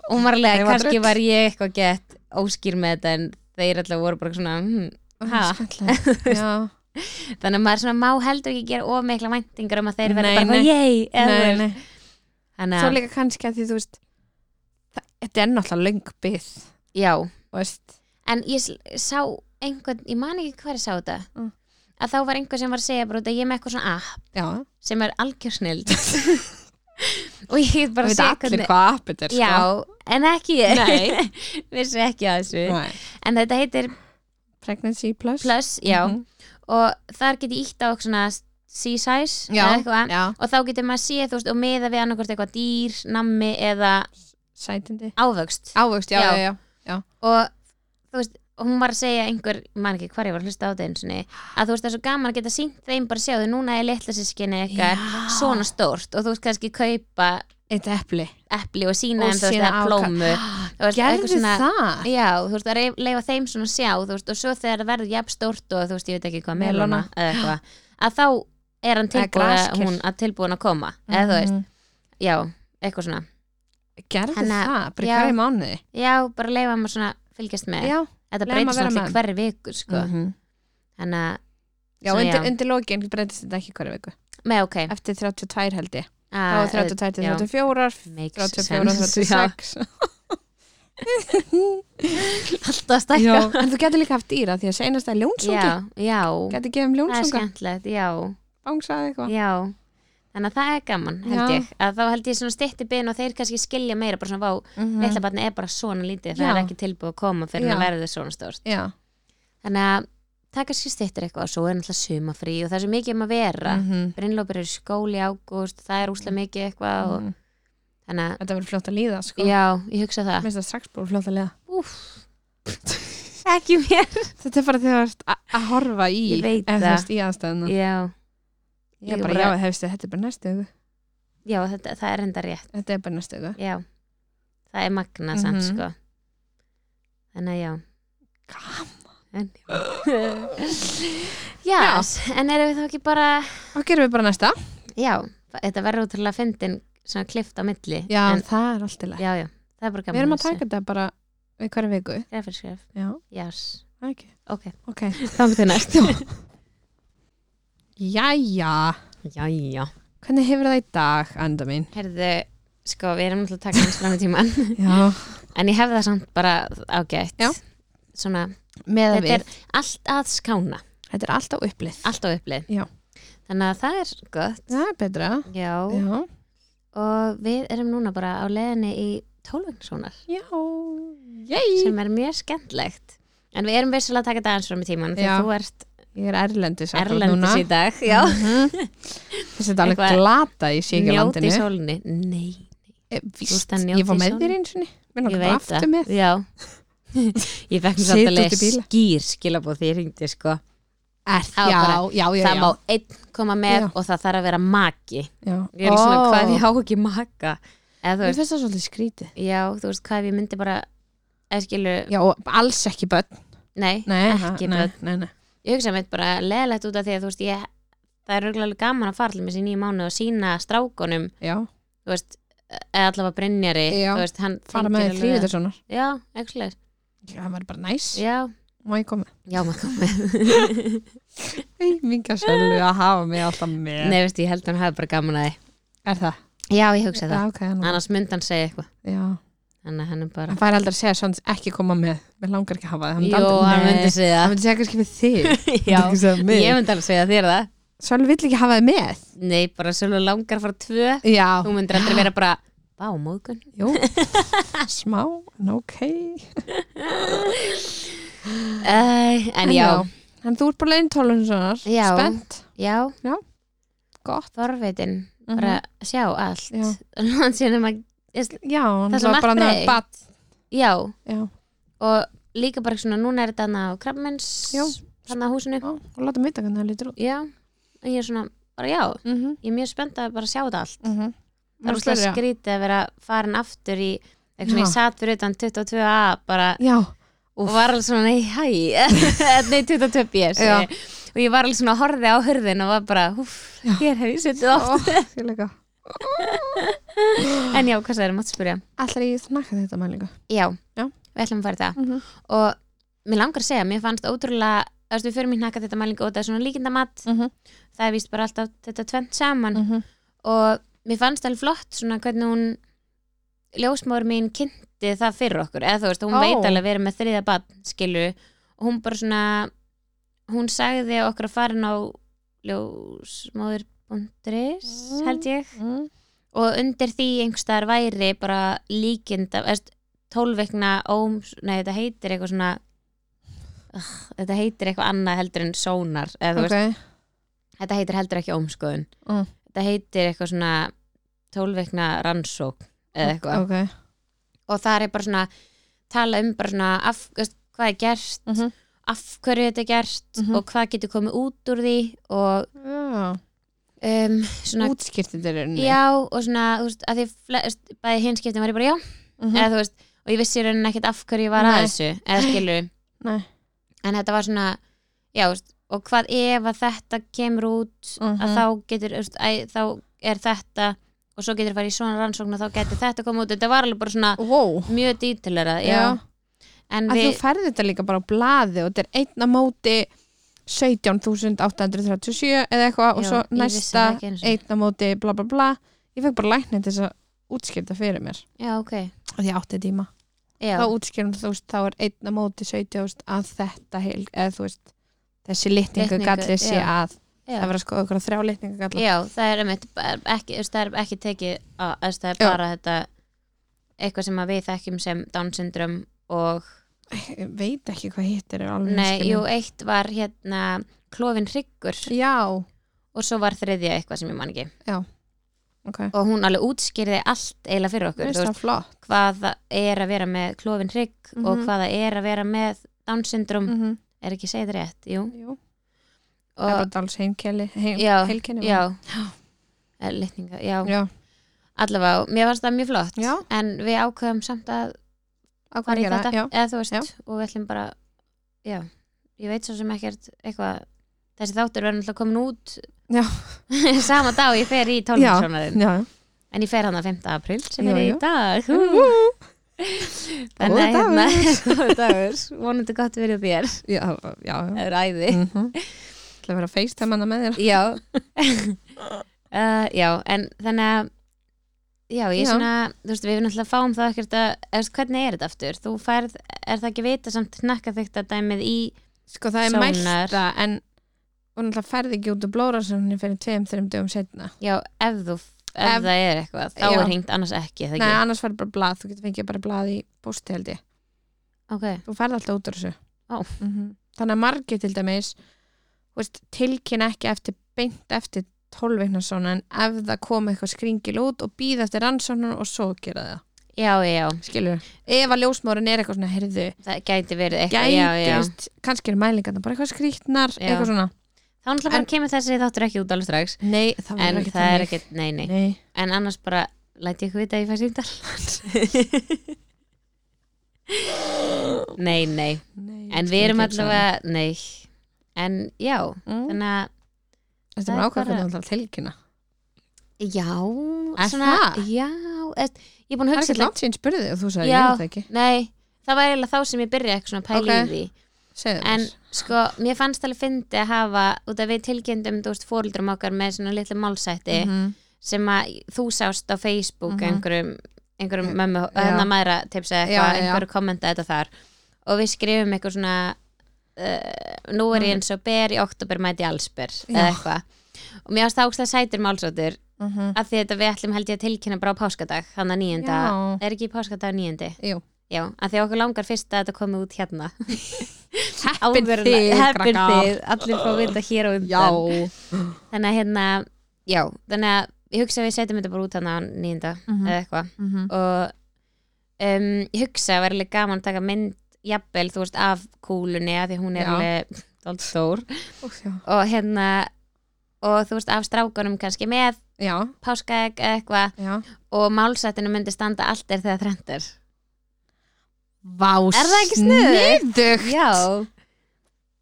Speaker 1: hún var alveg,
Speaker 2: Þeim var
Speaker 1: kannski
Speaker 2: drull.
Speaker 1: var ég eitthvað gett óskýr með þetta en þeir alltaf voru bara svona hm. Ha?
Speaker 2: skemmtilegt. já,
Speaker 1: þannig að maður svona má heldur ekki gera of mikla væntingar um að þeir verða
Speaker 2: Nei,
Speaker 1: bara
Speaker 2: nei.
Speaker 1: eitthvað, yey eða þú
Speaker 2: nei,
Speaker 1: veist.
Speaker 2: nei
Speaker 1: þannig
Speaker 2: svo
Speaker 1: að,
Speaker 2: líka kannski að því þú veist það, þetta er náttúrulega löng byð
Speaker 1: já
Speaker 2: veist,
Speaker 1: en ég sl- sá einhvern, ég man ekki hver ég sá þetta
Speaker 2: Mm.
Speaker 1: að þá var einhver sem var að segja bara út að ég er með eitthvað svona app
Speaker 2: já,
Speaker 1: sem er algjörsnild og ég get bara að
Speaker 2: það veit
Speaker 1: segja
Speaker 2: allir hvað appið er
Speaker 1: já,
Speaker 2: sko.
Speaker 1: en ekki ég vissi ekki að þessu
Speaker 2: Nei.
Speaker 1: en þetta heitir
Speaker 2: pregnancy plus,
Speaker 1: plus, já
Speaker 2: Mhm.
Speaker 1: og þar get ég ítt á eitthvað svona C-size
Speaker 2: já,
Speaker 1: eða eitthvað
Speaker 2: já,
Speaker 1: og þá getur maður séð, þú veist, og meða við annarkvort eitthvað dýr, nammi eða
Speaker 2: sætindi
Speaker 1: ávöxt
Speaker 2: ávöxt, já,
Speaker 1: Já.
Speaker 2: já, já,
Speaker 1: og þú veist, og hún var að segja einhver, man ekki hvar ég var að hlusta á þetta einu sinni að þú veist, það er svo gaman að geta sínt þeim bara sjáðu, núna er litla sískinni eitthvað svona stórt og þú veist kannski kaupa
Speaker 2: eitt epli
Speaker 1: epli og sína
Speaker 2: Og
Speaker 1: þeim, þú veist,
Speaker 2: sína Ah.
Speaker 1: eða
Speaker 2: á-
Speaker 1: plómu Þú veist,
Speaker 2: gerðu
Speaker 1: eitthvað svona-
Speaker 2: það
Speaker 1: Já, þú veist, að reyf- leyfa þeim svona að sjá, þú veist, og svo þegar það verður jafn stórt og þú veist, ég veit ekki hvað, melona
Speaker 2: Melóna.
Speaker 1: eða eitthvað, að þá er hann
Speaker 2: Eða
Speaker 1: tilbúin að,
Speaker 2: grasker.
Speaker 1: hún, að tilbúin að koma, eða þú veist,
Speaker 2: Mhm.
Speaker 1: já, eitthvað svona.
Speaker 2: gerðu
Speaker 1: Þannig að-
Speaker 2: það, bara
Speaker 1: já.
Speaker 2: í
Speaker 1: Eh, mhm.
Speaker 2: hverju mánuði
Speaker 1: Já, bara leyfa maður svona fylgjast með.
Speaker 2: já,
Speaker 1: Þetta
Speaker 2: leyfa
Speaker 1: breytist
Speaker 2: maður vera
Speaker 1: náttúrulega hverri viku, sko.
Speaker 2: Mhm.
Speaker 1: Þannig að,
Speaker 2: já,
Speaker 1: Svo,
Speaker 2: undir,
Speaker 1: já. Eh.
Speaker 2: undir lókin breytist þetta ekki hverju viku
Speaker 1: með ok.
Speaker 2: eftir 32 held ég
Speaker 1: Þá
Speaker 2: þá er 32 til 34
Speaker 1: Makes
Speaker 2: 34
Speaker 1: sense, já.
Speaker 2: 36
Speaker 1: Alltaf að
Speaker 2: Já,
Speaker 1: stækka
Speaker 2: en þú getur líka haft dýra því að seinast það er ljónsungi.
Speaker 1: Já, já,
Speaker 2: Getur gefið
Speaker 1: það
Speaker 2: um
Speaker 1: er
Speaker 2: ljónsunga,
Speaker 1: skemmtilegt Já,
Speaker 2: bángsað eitthvað.
Speaker 1: já Þannig að það er gaman, held
Speaker 2: sko. Já.
Speaker 1: ég að þá held ég svona stytti byrn og þeir kannski skilja meira bara svona, vá,
Speaker 2: Mhm.
Speaker 1: litla barni er bara svona lítið það
Speaker 2: Já.
Speaker 1: er ekki tilbúið að koma fyrir já.
Speaker 2: Já.
Speaker 1: að verður svona stórt
Speaker 2: Já,
Speaker 1: þannig að það kannski styttir eitthvað og svo er náttúrulega sumafrí og það er svo mikið um að vera mm.
Speaker 2: Mhm.
Speaker 1: Brynlópur er skóli ágúst það er úslega mikið eitthvað og,
Speaker 2: Mhm.
Speaker 1: þannig að,
Speaker 2: þetta verður fljótt að líða sko.
Speaker 1: já, ég hugsa það
Speaker 2: Mér finnst það strax búið fljótt að líða.
Speaker 1: Úf, ekki mér
Speaker 2: Þetta er bara þegar þú ert a- að horfa í
Speaker 1: Ég veit
Speaker 2: eða þú
Speaker 1: það.
Speaker 2: veist í aðstæðuna.
Speaker 1: já,
Speaker 2: Ég er
Speaker 1: Líka
Speaker 2: bara,
Speaker 1: bara-
Speaker 2: já, hefstu, þetta er bara næstu augu.
Speaker 1: já þetta, það er enda rétt
Speaker 2: Þetta er bara næstu augu.
Speaker 1: já, það er magna samt
Speaker 2: Mhm.
Speaker 1: sko þannig að já
Speaker 2: Gaman.
Speaker 1: en, já, en erum við þá ekki bara
Speaker 2: Og gerum við bara næsta.
Speaker 1: já, þetta verður útrúlega fyndin svona klift á milli
Speaker 2: Já,
Speaker 1: en,
Speaker 2: það er alltaf leið.
Speaker 1: já, já, það er bara gaman
Speaker 2: Við erum að taka þetta bara við hverju viku.
Speaker 1: skref fyrir skref,
Speaker 2: Já,
Speaker 1: jás
Speaker 2: það er ekki.
Speaker 1: ok,
Speaker 2: Ok.
Speaker 1: þannig til næst
Speaker 2: Jæja.
Speaker 1: jæja,
Speaker 2: Hvernig hefur það í dag, anda mín?
Speaker 1: herðu, sko við erum náttúrulega að taka hans fram í tíman
Speaker 2: Já.
Speaker 1: en ég hef það samt bara ágætt
Speaker 2: Já.
Speaker 1: svona,
Speaker 2: Með að
Speaker 1: þetta
Speaker 2: við.
Speaker 1: er allt að skána
Speaker 2: Þetta er alltaf upplið.
Speaker 1: allt á upplið
Speaker 2: Já.
Speaker 1: þannig að það er gott
Speaker 2: Það er betra.
Speaker 1: já,
Speaker 2: Já.
Speaker 1: og við erum núna bara á leðinni í tólvögnsónar
Speaker 2: Já. Yay.
Speaker 1: sem er mjög skemmtlegt en við erum vissulega að taka þetta aðeins fram í tíman
Speaker 2: Já.
Speaker 1: þegar þú ert
Speaker 2: Ég er erlendis. akkurat núna.
Speaker 1: erlendis í dag já.
Speaker 2: Þessi þetta er alveg
Speaker 1: Eitthvað-
Speaker 2: glata í síkja
Speaker 1: njóti í
Speaker 2: landinu.
Speaker 1: sólni nei,
Speaker 2: Eh,
Speaker 1: Þú
Speaker 2: Víst,
Speaker 1: ert að njóta
Speaker 2: ég var
Speaker 1: í
Speaker 2: með
Speaker 1: sólinni.
Speaker 2: þér eins og niður. Mér
Speaker 1: ég
Speaker 2: langar bara
Speaker 1: veit
Speaker 2: aftur með.
Speaker 1: já ég fekk mér
Speaker 2: Sit
Speaker 1: samt alveg
Speaker 2: út í bíla.
Speaker 1: skýr skilabóð því ég ringdi sko
Speaker 2: Er,
Speaker 1: Það var bara-
Speaker 2: já, já,
Speaker 1: það má einn koma með
Speaker 2: Já.
Speaker 1: og það þarf að vera maki
Speaker 2: já.
Speaker 1: ég er svona
Speaker 2: Ó.
Speaker 1: hvað ef ég á ekki maka eða þú
Speaker 2: Mér
Speaker 1: veist,
Speaker 2: finnst það svolítið skrítið.
Speaker 1: já, þú veist hvað ef ég myndi bara eða skilu,
Speaker 2: Já, og alls ekki börn.
Speaker 1: nei,
Speaker 2: Nei,
Speaker 1: ekki
Speaker 2: nei,
Speaker 1: börn.
Speaker 2: Nei, nei.
Speaker 1: ég hugsa mitt bara leðilegt út af því að þú veist ég, það er örgulega gaman að fara allir með sér nýjum mánu og sína strákunum
Speaker 2: Já,
Speaker 1: þú veist, eða allavega Brynjari
Speaker 2: Já.
Speaker 1: þú veist, hann
Speaker 2: fara með þér fríðið svona.
Speaker 1: já, ekki slegis,
Speaker 2: Já, það var bara næs.
Speaker 1: já,
Speaker 2: Má ég koma?
Speaker 1: já maður komið
Speaker 2: Nei, minga sjálfu að hafa mig alltaf með.
Speaker 1: nei, veist, ég held að hann hafi bara gaman að þið
Speaker 2: Er það?
Speaker 1: já, ég hugsa það,
Speaker 2: Já, ok. Nú.
Speaker 1: annars myndi hann segja eitthvað
Speaker 2: Já.
Speaker 1: þannig að hann er bara
Speaker 2: Hann fær aldrei að segja svona ekki koma með. Mér langar ekki að hafa það. Hann myndi
Speaker 1: jú,
Speaker 2: aldrei-
Speaker 1: hann
Speaker 2: Nei.
Speaker 1: myndi segja
Speaker 2: Hann myndi segja kannski við þig.
Speaker 1: já,
Speaker 2: Hann myndi ekki segja mig.
Speaker 1: ég myndi alveg segja þér það
Speaker 2: Sjálf vill ekki hafa þið með.
Speaker 1: nei, bara svolítið langar að fara tvö
Speaker 2: Já.
Speaker 1: þú myndir aldrei vera bara, bá, móðgun
Speaker 2: Jú, smá, en ok.
Speaker 1: uh, en já,
Speaker 2: En þú ert bara leiðin tólun svona.
Speaker 1: Já.
Speaker 2: Spennt.
Speaker 1: já,
Speaker 2: Gott.
Speaker 1: forvitin bara sjá allt
Speaker 2: Mhm. Já.
Speaker 1: Langt síðan um að-
Speaker 2: Já, hann
Speaker 1: Það sem
Speaker 2: var bara
Speaker 1: allt
Speaker 2: náttúrulega
Speaker 1: breytt.
Speaker 2: bad.
Speaker 1: já,
Speaker 2: Já,
Speaker 1: og líka bara svona, núna er þetta hann á krabbmenns
Speaker 2: Já.
Speaker 1: hann á húsinu
Speaker 2: já, og láta mig taka hvernig það lítur út.
Speaker 1: Já, og ég er svona, bara já
Speaker 2: Mm -hmm.
Speaker 1: ég er mjög spennt að bara sjá þetta allt
Speaker 2: Mm
Speaker 1: Mhm. það er úrslega skrítið að vera farin aftur í eitthvað svona, ég
Speaker 2: Já.
Speaker 1: satt fyrir utan 22a bara,
Speaker 2: Já,
Speaker 1: og var alveg svona nei, hæ, nei 22b segi
Speaker 2: Já.
Speaker 1: ég. og ég var alveg svona að horfið á hörðin og var bara, húf,
Speaker 2: Já.
Speaker 1: hér hef ég setið oft
Speaker 2: ég líka.
Speaker 1: en já, hvað það er, mátt spyrja
Speaker 2: Allar ég snakka þetta maður líka.
Speaker 1: já,
Speaker 2: Já.
Speaker 1: við ætlum að fara í það
Speaker 2: Mm -hmm.
Speaker 1: og mér langar að segja, mér fannst ótrúlega þú veist, við förum í hnakka þetta mælingu og það er svona líkindamatt
Speaker 2: Mm -hmm.
Speaker 1: það er víst bara alltaf þetta tvent saman
Speaker 2: Mm -hmm.
Speaker 1: og mér fannst alveg flott svona hvernig hún ljósmóður mín kynnti það fyrir okkur eða þú veist, hún
Speaker 2: Ó.
Speaker 1: veit alveg að vera með þriða badn skilu og hún bara svona hún sagði okkur að fara inn á ljósmóður.is
Speaker 2: Mm.
Speaker 1: held ég og undir því einhverstaðar væri bara líkinda tólveikna óms, nei þetta heitir eitthvað svona uh, þetta heitir eitthvað annað heldur en sónar eða þú veist,
Speaker 2: Ok,
Speaker 1: þetta heitir heldur ekki ómskoðun
Speaker 2: Mm.
Speaker 1: þetta heitir eitthvað svona tólveikna rannsók eða eitthvað
Speaker 2: ok.
Speaker 1: og það er bara svona tala um bara svona af, veist, hvað er gert
Speaker 2: Mhm.
Speaker 1: af hverju þetta er gert
Speaker 2: Mhm.
Speaker 1: og hvað getur komið út úr því og
Speaker 2: Já,
Speaker 1: um, svona
Speaker 2: útskýrtið þeir eru.
Speaker 1: já og svona þú veist, að því fle- þú veist, bæði hinskiptin var ég bara já
Speaker 2: Mhm.
Speaker 1: eða þú veist og ég vissi í rauninni ekkert af hverju ég var
Speaker 2: Nei.
Speaker 1: að þessu eða skilur
Speaker 2: Nei.
Speaker 1: en þetta var svona já, þú veist, og hvað ef að þetta kemur út
Speaker 2: Mhm.
Speaker 1: að þá getur þú veist, æ, þá er þetta og svo getur farið í svona rannsókn og þá getur þetta koma út þetta var alveg bara svona
Speaker 2: Wow.
Speaker 1: mjög dítilera
Speaker 2: Já.
Speaker 1: en
Speaker 2: Að þú
Speaker 1: við,
Speaker 2: færði þetta líka bara á blaði og þetta er einn á móti 17.837 eða eitthvað og
Speaker 1: Já,
Speaker 2: svo
Speaker 1: ég vissi það
Speaker 2: næsta
Speaker 1: ekki einu sinni.
Speaker 2: einn á móti bla bla bla. Ég fekk bara læknir til þess að útskýrta fyrir mér.
Speaker 1: já ok
Speaker 2: Og því ég átti tíma.
Speaker 1: já,
Speaker 2: þá útskjörum þú veist, þá er einn að móti 17 að þetta heil, eða þú veist þessi litningagalli
Speaker 1: Litningu,
Speaker 2: sé
Speaker 1: já.
Speaker 2: að
Speaker 1: já.
Speaker 2: það verða sko okkur þrjá litningagallar
Speaker 1: já, það er einmitt bara ekki, þú veist, það er ekki tekið að, þú veist, það er
Speaker 2: Já.
Speaker 1: bara þetta eitthvað sem að við þekkjum sem Down syndrom og
Speaker 2: ég veit ekki hvað hittir er alveg
Speaker 1: Nei,
Speaker 2: skilur.
Speaker 1: jú, eitt var hérna klófin hryggur
Speaker 2: já,
Speaker 1: og svo var þriðja eitthvað sem ég man ekki
Speaker 2: ok
Speaker 1: og hún alveg útskýrði allt eiginlega fyrir okkur
Speaker 2: Mér
Speaker 1: þú
Speaker 2: finnst
Speaker 1: veist,
Speaker 2: það flott
Speaker 1: hvað það er að vera með klófin hrygg og
Speaker 2: Mhm.
Speaker 1: hvað það er að vera með Down syndrom
Speaker 2: mm -hmm.
Speaker 1: er ekki segið rétt, jú
Speaker 2: jú, það er
Speaker 1: og,
Speaker 2: bara alls heimkeli heim,
Speaker 1: Já,
Speaker 2: heilkenni
Speaker 1: já, Eh, litninga, já,
Speaker 2: já,
Speaker 1: allavega mér fannst það mjög flott,
Speaker 2: Já.
Speaker 1: en við ákveðum samt að
Speaker 2: að
Speaker 1: fara
Speaker 2: hvað
Speaker 1: í
Speaker 2: gera
Speaker 1: þetta
Speaker 2: já,
Speaker 1: eða þú veist,
Speaker 2: Já.
Speaker 1: og við ætlum bara já, ég veit svo sem ekkert eitthvað, þessi þáttur verður náttúrulega komin
Speaker 2: Já.
Speaker 1: út sama dag og ég fer í
Speaker 2: Já.
Speaker 1: tólfinsjónarin
Speaker 2: já,
Speaker 1: en ég fer hann að 5. april sem
Speaker 2: Já,
Speaker 1: er í
Speaker 2: já.
Speaker 1: dag
Speaker 2: Ú,
Speaker 1: þannig að
Speaker 2: Góður
Speaker 1: hérna
Speaker 2: dagur.
Speaker 1: góður dagur, vonandi gott verið þér
Speaker 2: já, já, já.
Speaker 1: það er æði
Speaker 2: Mm -hmm. Það verður að feistum hana með þér
Speaker 1: já uh, já, en þannig að já, ég
Speaker 2: Já.
Speaker 1: svona, þú veist, við náttúrulega fáum það ekkert að, eða þú veist, hvernig er þetta aftur þú færð, er það ekki vita samt nakka þetta dæmið í,
Speaker 2: Sko það er
Speaker 1: Sónar.
Speaker 2: mælta en og náttúrulega ferði ekki út úr blóðrásarunni fyrir tveim, þreim dögum setna.
Speaker 1: já, ef þú ef,
Speaker 2: Ef-
Speaker 1: það er eitthvað, þá
Speaker 2: Já.
Speaker 1: er hringt annars ekki, er það
Speaker 2: Nei,
Speaker 1: ekki,
Speaker 2: annars ferði bara blað, þú getur fengið bara blað í bústi held ég.
Speaker 1: ok
Speaker 2: Þú ferði alltaf út úr þessu.
Speaker 1: Ó.
Speaker 2: Mhm. Þannig að margir til dæmis þú veist, tilkynna ekki eftir beint eftir tólveikna svona en ef það kom eitthvað skringil út og býða eftir rannsóknun og svo gera það.
Speaker 1: já, já, já,
Speaker 2: Skilur. Ef að ljósmórun er eitthvað svona, heyrðu,
Speaker 1: það gæti verið eitthvað, já, já
Speaker 2: gætist, kannski er mælingarna bara eitthvað skrítnar,
Speaker 1: Já.
Speaker 2: eitthvað svona.
Speaker 1: þá náttúrulega
Speaker 2: En-
Speaker 1: bara kemur þessi þáttur ekki út alveg strax
Speaker 2: Nei, það verður
Speaker 1: en
Speaker 2: ekki
Speaker 1: það er
Speaker 2: þannig.
Speaker 1: ekkert, nei, nei
Speaker 2: Nei.
Speaker 1: en annars bara, læt ég hvita að ég fæ síndal nei, nei
Speaker 2: Nei,
Speaker 1: en
Speaker 2: ég
Speaker 1: við erum
Speaker 2: skil ekki um
Speaker 1: allavega, nei en já,
Speaker 2: Mm.
Speaker 1: þannig að
Speaker 2: Þetta
Speaker 1: Það
Speaker 2: er
Speaker 1: er
Speaker 2: bara ákvæða
Speaker 1: bara-
Speaker 2: hvernig þú ætlar að tilkynna.
Speaker 1: já,
Speaker 2: Er
Speaker 1: svona
Speaker 2: það?
Speaker 1: já, eð, ég er búin að
Speaker 2: Það er
Speaker 1: hugsa
Speaker 2: ekki
Speaker 1: þetta
Speaker 2: langt síðan spurðið og þú sagði
Speaker 1: Já.
Speaker 2: ég veit það ekki.
Speaker 1: nei, það var eiginlega þá sem ég byrja eitthvað svona pæli
Speaker 2: Ok.
Speaker 1: í því
Speaker 2: Segðu
Speaker 1: en
Speaker 2: þess.
Speaker 1: sko, mér fannst alveg fyndi að hafa út að við tilkynntum, þú veist, fóruldrum okkar með svona litlu málsætti
Speaker 2: -hmm.
Speaker 1: sem að þú sást á Facebook
Speaker 2: Mhm.
Speaker 1: einhverjum, einhverjum mömmu,
Speaker 2: Já.
Speaker 1: hérna mæra tipsa
Speaker 2: Já,
Speaker 1: eitthvað,
Speaker 2: já.
Speaker 1: einhverju kommenta þetta þar og við skrifum eitthvað svona uh, nú er ég eins og ber í oktober mæti allsber eða
Speaker 2: Mhm. Já.
Speaker 1: eitthvað og mér ást ákslega sætur málsóttur
Speaker 2: Mhm.
Speaker 1: af því þetta við ætlum held ég að tilkynna bara á páskadag hann að nýjenda,
Speaker 2: Já.
Speaker 1: er ekki páskadag nýjendi?
Speaker 2: Jú.
Speaker 1: Já, af því að okkur langar fyrst að þetta komi út hérna
Speaker 2: Heppin
Speaker 1: Áður en-
Speaker 2: þið,
Speaker 1: heppin
Speaker 2: krakkar.
Speaker 1: þið, allir fá að vita hér á undan
Speaker 2: Já.
Speaker 1: þannig að hérna, já, þannig að ég hugsa að við setjum þetta bara út hann á nýjunda
Speaker 2: Mhm.
Speaker 1: eða eitthvað
Speaker 2: Mhm.
Speaker 1: og um, ég hugsa að vera alveg gaman að taka mynd jafnvel, þú veist, af kúlunni af því hún er
Speaker 2: Já.
Speaker 1: alveg dálítið stór
Speaker 2: Úff, Já.
Speaker 1: og hérna og þú veist, af strákunum kannski með
Speaker 2: Já.
Speaker 1: páskaegg eða eitthvað
Speaker 2: Já.
Speaker 1: og málsættinu myndi standa allt er þegar þrennt er
Speaker 2: Vá,
Speaker 1: Er það ekki sniðugt?
Speaker 2: sniðugt?
Speaker 1: Já,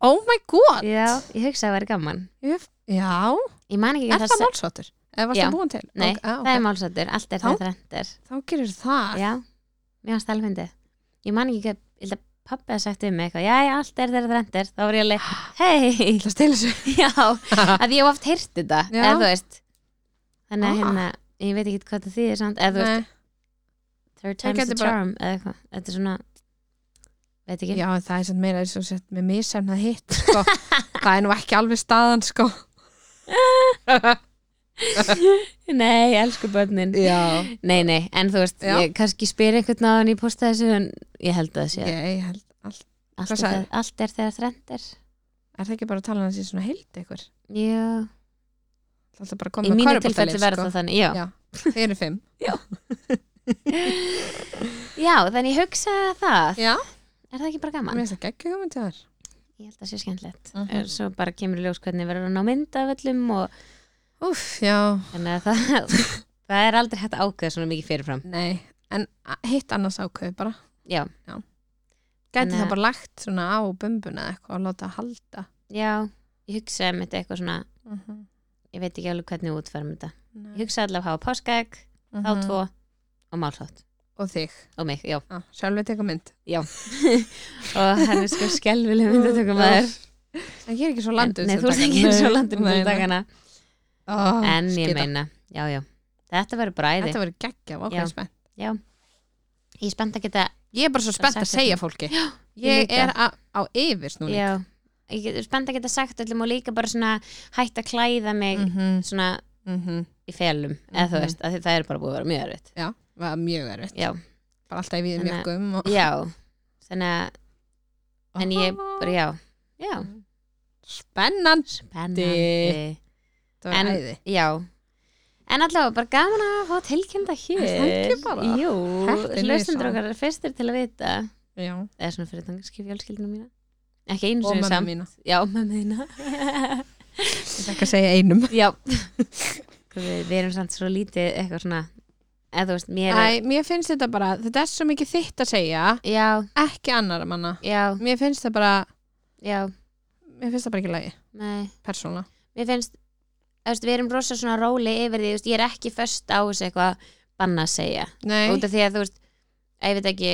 Speaker 2: Oh my god.
Speaker 1: já, ég hugsa að vera gaman
Speaker 2: Ég- Já.
Speaker 1: Ég man ekki
Speaker 2: Er
Speaker 1: hvað
Speaker 2: það
Speaker 1: það,
Speaker 2: málsvottur? Eða varst
Speaker 1: Já.
Speaker 2: það búin til?
Speaker 1: Nei,
Speaker 2: Ok, á,
Speaker 1: það er
Speaker 2: ok.
Speaker 1: málsættur allt er
Speaker 2: Þá?
Speaker 1: þegar þrennt er
Speaker 2: Þá gerir það.
Speaker 1: Já, mér varst alvegndi Ég man ekki hvað, ég held að pappi að sagt um mig eitthvað, já, já, allt er þegar þrennt er þá var ég alveg, hei,
Speaker 2: Það stelur sig.
Speaker 1: já að ég hef oft heyrt þetta
Speaker 2: Já.
Speaker 1: eða þú veist þannig að
Speaker 2: Ah.
Speaker 1: hérna, ég veit ekki hvað það þýðir samt eða þú veist,
Speaker 2: Nei.
Speaker 1: third
Speaker 2: Það
Speaker 1: time's the
Speaker 2: gæti bara-
Speaker 1: charm eða eitthvað, þetta er svona veit ekki,
Speaker 2: Já, en það er sann meira eins og sett með misefnað hitt, sko. það er nú ekki alveg staðan, sko.
Speaker 1: nei, elsku börnin
Speaker 2: Já.
Speaker 1: nei, nei, en þú veist,
Speaker 2: Já.
Speaker 1: ég kannski spyr einhvern á hann í posta þessu en ég held að það sé
Speaker 2: Ég held allt.
Speaker 1: allt, er
Speaker 2: hvað sagði?
Speaker 1: þegar- allt er þegar þrennt er
Speaker 2: Er það ekki bara að tala hans í svona heild ykkur?
Speaker 1: já,
Speaker 2: Það er alltaf bara að
Speaker 1: í
Speaker 2: koma með
Speaker 1: mínu
Speaker 2: körfuboltalið,
Speaker 1: tilfelli verður
Speaker 2: sko.
Speaker 1: það þannig já.
Speaker 2: Já. Þið eru fimm.
Speaker 1: já, þannig ég hugsa það
Speaker 2: Já.
Speaker 1: er það ekki bara
Speaker 2: Mér
Speaker 1: gaman?
Speaker 2: finnst það geggja hugmynd hjá þér.
Speaker 1: Ég held að það sé skemmtilegt
Speaker 2: Mhm.
Speaker 1: svo bara kemur í ljós hvernig verður hann á mynda af öllum og
Speaker 2: Úf, já.
Speaker 1: Þannig að það, það er aldrei hægt að ákveða svona mikið fyrirfram.
Speaker 2: Nei, en a- hitt annars ákveðu bara.
Speaker 1: Já,
Speaker 2: Gæti
Speaker 1: Þannig að-
Speaker 2: það bara lagt svona á bumbuna eða eitthvað og láta að halda.
Speaker 1: já, ég hugsaði um þetta eitthvað svona, ég veit ekki alveg hvernig ég útferðum þetta. Ég hugsaði allavega að hafa páskaegg, þá tvo og málsótt
Speaker 2: Mhm. Og þig.
Speaker 1: og mig, já.
Speaker 2: Já, sjálfur teka mynd.
Speaker 1: Og hann er sko skelvileg myndatökum að þér.
Speaker 2: En ég er ekki svo landur.
Speaker 1: Nei, þú ert ekki eins og landur með dagana.
Speaker 2: Oh,
Speaker 1: En ég meina, já, já. Þetta verður bara æði.
Speaker 2: Þetta verður geggja, ok,
Speaker 1: Já.
Speaker 2: spennt.
Speaker 1: Ég er spennt að geta
Speaker 2: Ég er bara svo spennt að
Speaker 1: sagt
Speaker 2: segja fólki
Speaker 1: ég
Speaker 2: Ég
Speaker 1: líka.
Speaker 2: er á, á yfir snúning
Speaker 1: Já, ég get- er spennt að geta sagt öllum og líka bara svona hætt að klæða mig
Speaker 2: Mhm,
Speaker 1: svona
Speaker 2: mhm.
Speaker 1: í felum eða þú
Speaker 2: Mhm.
Speaker 1: veist, af því það er bara búið að vera mjög erfitt
Speaker 2: Já, það er mjög erfitt
Speaker 1: Já,
Speaker 2: Bara alltaf í við
Speaker 1: Þannig að-
Speaker 2: mjögum og...
Speaker 1: já, þannig að en ég bara, já, já
Speaker 2: Spennandi
Speaker 1: spennandi,
Speaker 2: Það var
Speaker 1: En-
Speaker 2: æði
Speaker 1: já en allavega bara gaman að fá tilkynna hér
Speaker 2: Það ekki bara.
Speaker 1: Jú,
Speaker 2: Þetta er
Speaker 1: hlustundur
Speaker 2: niðurstaðan.
Speaker 1: okkar er fyrstir til að vita
Speaker 2: Já,
Speaker 1: eða svona fyrir þangarski fjölskyldinu mína ekki einu
Speaker 2: og
Speaker 1: sinni
Speaker 2: mamma
Speaker 1: samt
Speaker 2: mína
Speaker 1: Já, mömmu þína
Speaker 2: Ég ætla ekki að segja einum
Speaker 1: Já við, við erum samt svo lítið eitthvað svona eða þú veist, mér er
Speaker 2: Æ, mér finnst þetta bara, þetta er svo mikið þitt að segja
Speaker 1: Já,
Speaker 2: ekki annar manna
Speaker 1: já,
Speaker 2: Mér finnst það bara,
Speaker 1: já,
Speaker 2: mér finnst það bara ekki lægi
Speaker 1: nei
Speaker 2: persónulega
Speaker 1: mér finnst þú veist, við erum rosa svona róli yfir því þú veist, ég er ekki först á þessu eitthvað banna að segja,
Speaker 2: Nei,
Speaker 1: út af því að þú veist að ég veit ekki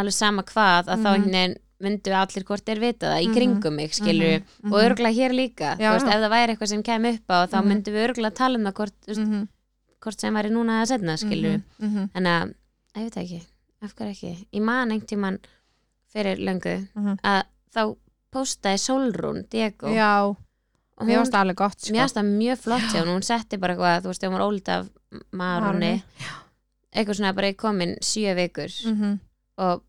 Speaker 1: alveg sama hvað að þá
Speaker 2: Mhm.
Speaker 1: einhvern veginn myndu allir hvort þeir vita það í
Speaker 2: Mhm.
Speaker 1: kringum mig skilur
Speaker 2: Mhm,
Speaker 1: og örgulega hér líka
Speaker 2: Já,
Speaker 1: þú veist,
Speaker 2: já.
Speaker 1: ef það væri eitthvað sem kem upp á þá
Speaker 2: Mhm.
Speaker 1: myndum við örgulega tala um það hvort, þú veist,
Speaker 2: mhm,
Speaker 1: hvort sem væri núna að setna skilur
Speaker 2: mhm, mhm,
Speaker 1: en að, ég veit það ekki, af hverju ekki ég man einhvern tíman fyrir löngu
Speaker 2: mhm.
Speaker 1: að þá postaði Solrún Diego
Speaker 2: Já,
Speaker 1: og
Speaker 2: mér
Speaker 1: hún
Speaker 2: varst það alveg gott sko.
Speaker 1: Sko. Mér finnst það mjög flott hjá hún, hún setti bara eitthvað, þú veist, þegar hún var ólít af marunni,
Speaker 2: Marunni,
Speaker 1: eitthvað svona bara komin sjö vikur
Speaker 2: Mhm.
Speaker 1: og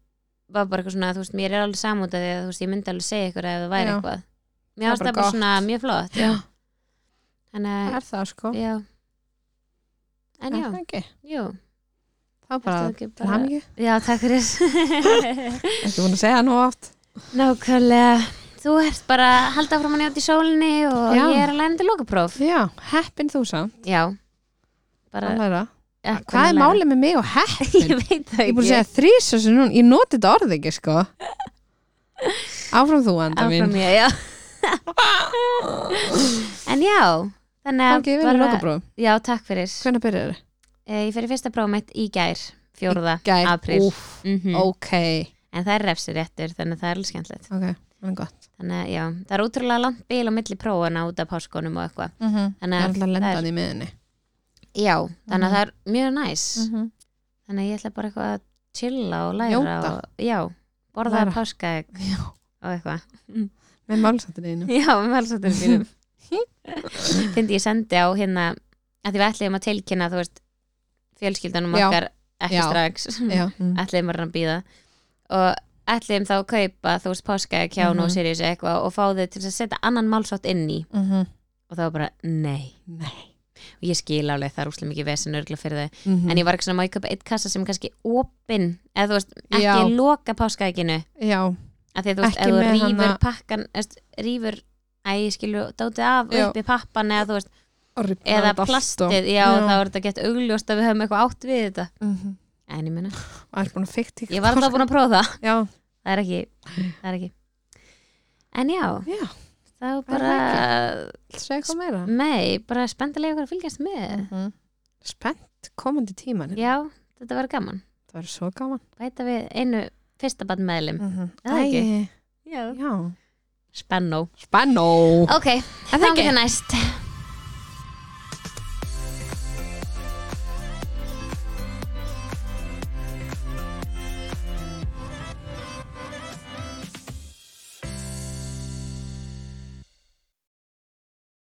Speaker 1: var bara eitthvað svona, þú veist, mér er alveg samúta því að þú veist, ég myndi alveg segja ykkur ef það væri
Speaker 2: Já.
Speaker 1: eitthvað. Mér finnst
Speaker 2: bara
Speaker 1: það bara
Speaker 2: gott.
Speaker 1: svona mjög flott.
Speaker 2: Já. Það
Speaker 1: Þannig
Speaker 2: er það sko
Speaker 1: að, já. En
Speaker 2: Er
Speaker 1: já,
Speaker 2: það ekki?
Speaker 1: jú.
Speaker 2: Þá
Speaker 1: ertu
Speaker 2: bara,
Speaker 1: ekki
Speaker 2: til hamingju
Speaker 1: Já, takk fyrir.
Speaker 2: Ekki búin að segja það nú oft
Speaker 1: Nákvæmlega. Þú ert bara að halda áfram að njóta í sólinni og
Speaker 2: Já.
Speaker 1: ég er að læra til lokapróf.
Speaker 2: Já, heppin þú samt
Speaker 1: Já. Bara,
Speaker 2: að læra.
Speaker 1: ja,
Speaker 2: Hvað er
Speaker 1: hvernig læra?
Speaker 2: málið með mig og
Speaker 1: Ég
Speaker 2: heppin?
Speaker 1: veit það ekki.
Speaker 2: Ég er búin að segja þrísa sem núna, ég noti þetta orð ekki sko Áfram þú anda mín
Speaker 1: Áfram ég, já En já Þannig að
Speaker 2: Gangi, ég vil að loka bróðum
Speaker 1: Já, takk fyrir
Speaker 2: Hvernig byrjar þið?
Speaker 1: Eh, Ég fer í fyrsta prófum mitt í gær Fjórða
Speaker 2: Gær,
Speaker 1: apríl
Speaker 2: úff,
Speaker 1: Mhm.
Speaker 2: ok
Speaker 1: En það er refsiréttur þannig að það er alveg skemmtilegt
Speaker 2: Ok, það er gott
Speaker 1: Þannig að já, það er útrúlega langt bíl á milli prófana út af páskonum og eitthvað
Speaker 2: -hmm.
Speaker 1: Þannig
Speaker 2: Það
Speaker 1: að,
Speaker 2: er alltaf að lenda
Speaker 1: Mhm. það er-
Speaker 2: hann í Mhm. miðinni
Speaker 1: já, þannig að það er mjög næs
Speaker 2: -hmm.
Speaker 1: Þannig að ég ætla bara eitthvað að chilla og læra
Speaker 2: Njóta.
Speaker 1: og, Já, borða
Speaker 2: Læra.
Speaker 1: páska
Speaker 2: Já.
Speaker 1: og eitthvað
Speaker 2: Með málsattin einu
Speaker 1: Já, um með valsáttur mínum Fyndi ég sendi á hérna að því við ætliðum að tilkynna þú veist fjölskyldanum
Speaker 2: Já.
Speaker 1: okkar ekki
Speaker 2: Já.
Speaker 1: strax
Speaker 2: Já, mm.
Speaker 1: ætliðum að býða og ætliðum þá að kaupa þú veist páska kjánu
Speaker 2: Mhm.
Speaker 1: og Sirius eitthvað og fá þau til þess að setja annan málsátt inn í
Speaker 2: Mm -hmm.
Speaker 1: og þá var bara nei
Speaker 2: Nei
Speaker 1: og ég skil alveg það er úslega mikið vesen örgla fyrir þau
Speaker 2: mm
Speaker 1: en ég var ekki svona má ég kaupa eitt kassa sem er kannski opinn eða þú veist ekki
Speaker 2: Já.
Speaker 1: loka páskaækinu
Speaker 2: Já,
Speaker 1: að því að þú veist,
Speaker 2: Ekki
Speaker 1: ef þú
Speaker 2: með
Speaker 1: rýfur
Speaker 2: hana-
Speaker 1: pakkan eðst, rýfur, æ, skilur dótið af
Speaker 2: Já.
Speaker 1: uppi pappan eða þú veist
Speaker 2: Og rifnar
Speaker 1: eða
Speaker 2: þetta allt og-
Speaker 1: plastið, já, þá er þetta gett augljóst að við höfum eitthvað átt við þetta
Speaker 2: Mhm.
Speaker 1: en ég meina,
Speaker 2: Og er búin að fikk tík
Speaker 1: ég var alltaf búin að prófa það
Speaker 2: Já,
Speaker 1: það er ekki, það er ekki en já,
Speaker 2: já,
Speaker 1: það var
Speaker 2: Það er
Speaker 1: bara
Speaker 2: segja eitthvað meira
Speaker 1: mei, bara spendilega ykkur að fylgjast með
Speaker 2: -hmm. Spennt komandi tíman
Speaker 1: já, þetta var gaman,
Speaker 2: Það var svo gaman
Speaker 1: bæta við einu fyrsta bann meðlum,
Speaker 2: mm -hmm.
Speaker 1: Mhm. Það er ekki.
Speaker 2: Já
Speaker 1: spennó
Speaker 2: Spennó
Speaker 1: ok,
Speaker 2: En það
Speaker 1: þangir
Speaker 2: ekki
Speaker 1: til næst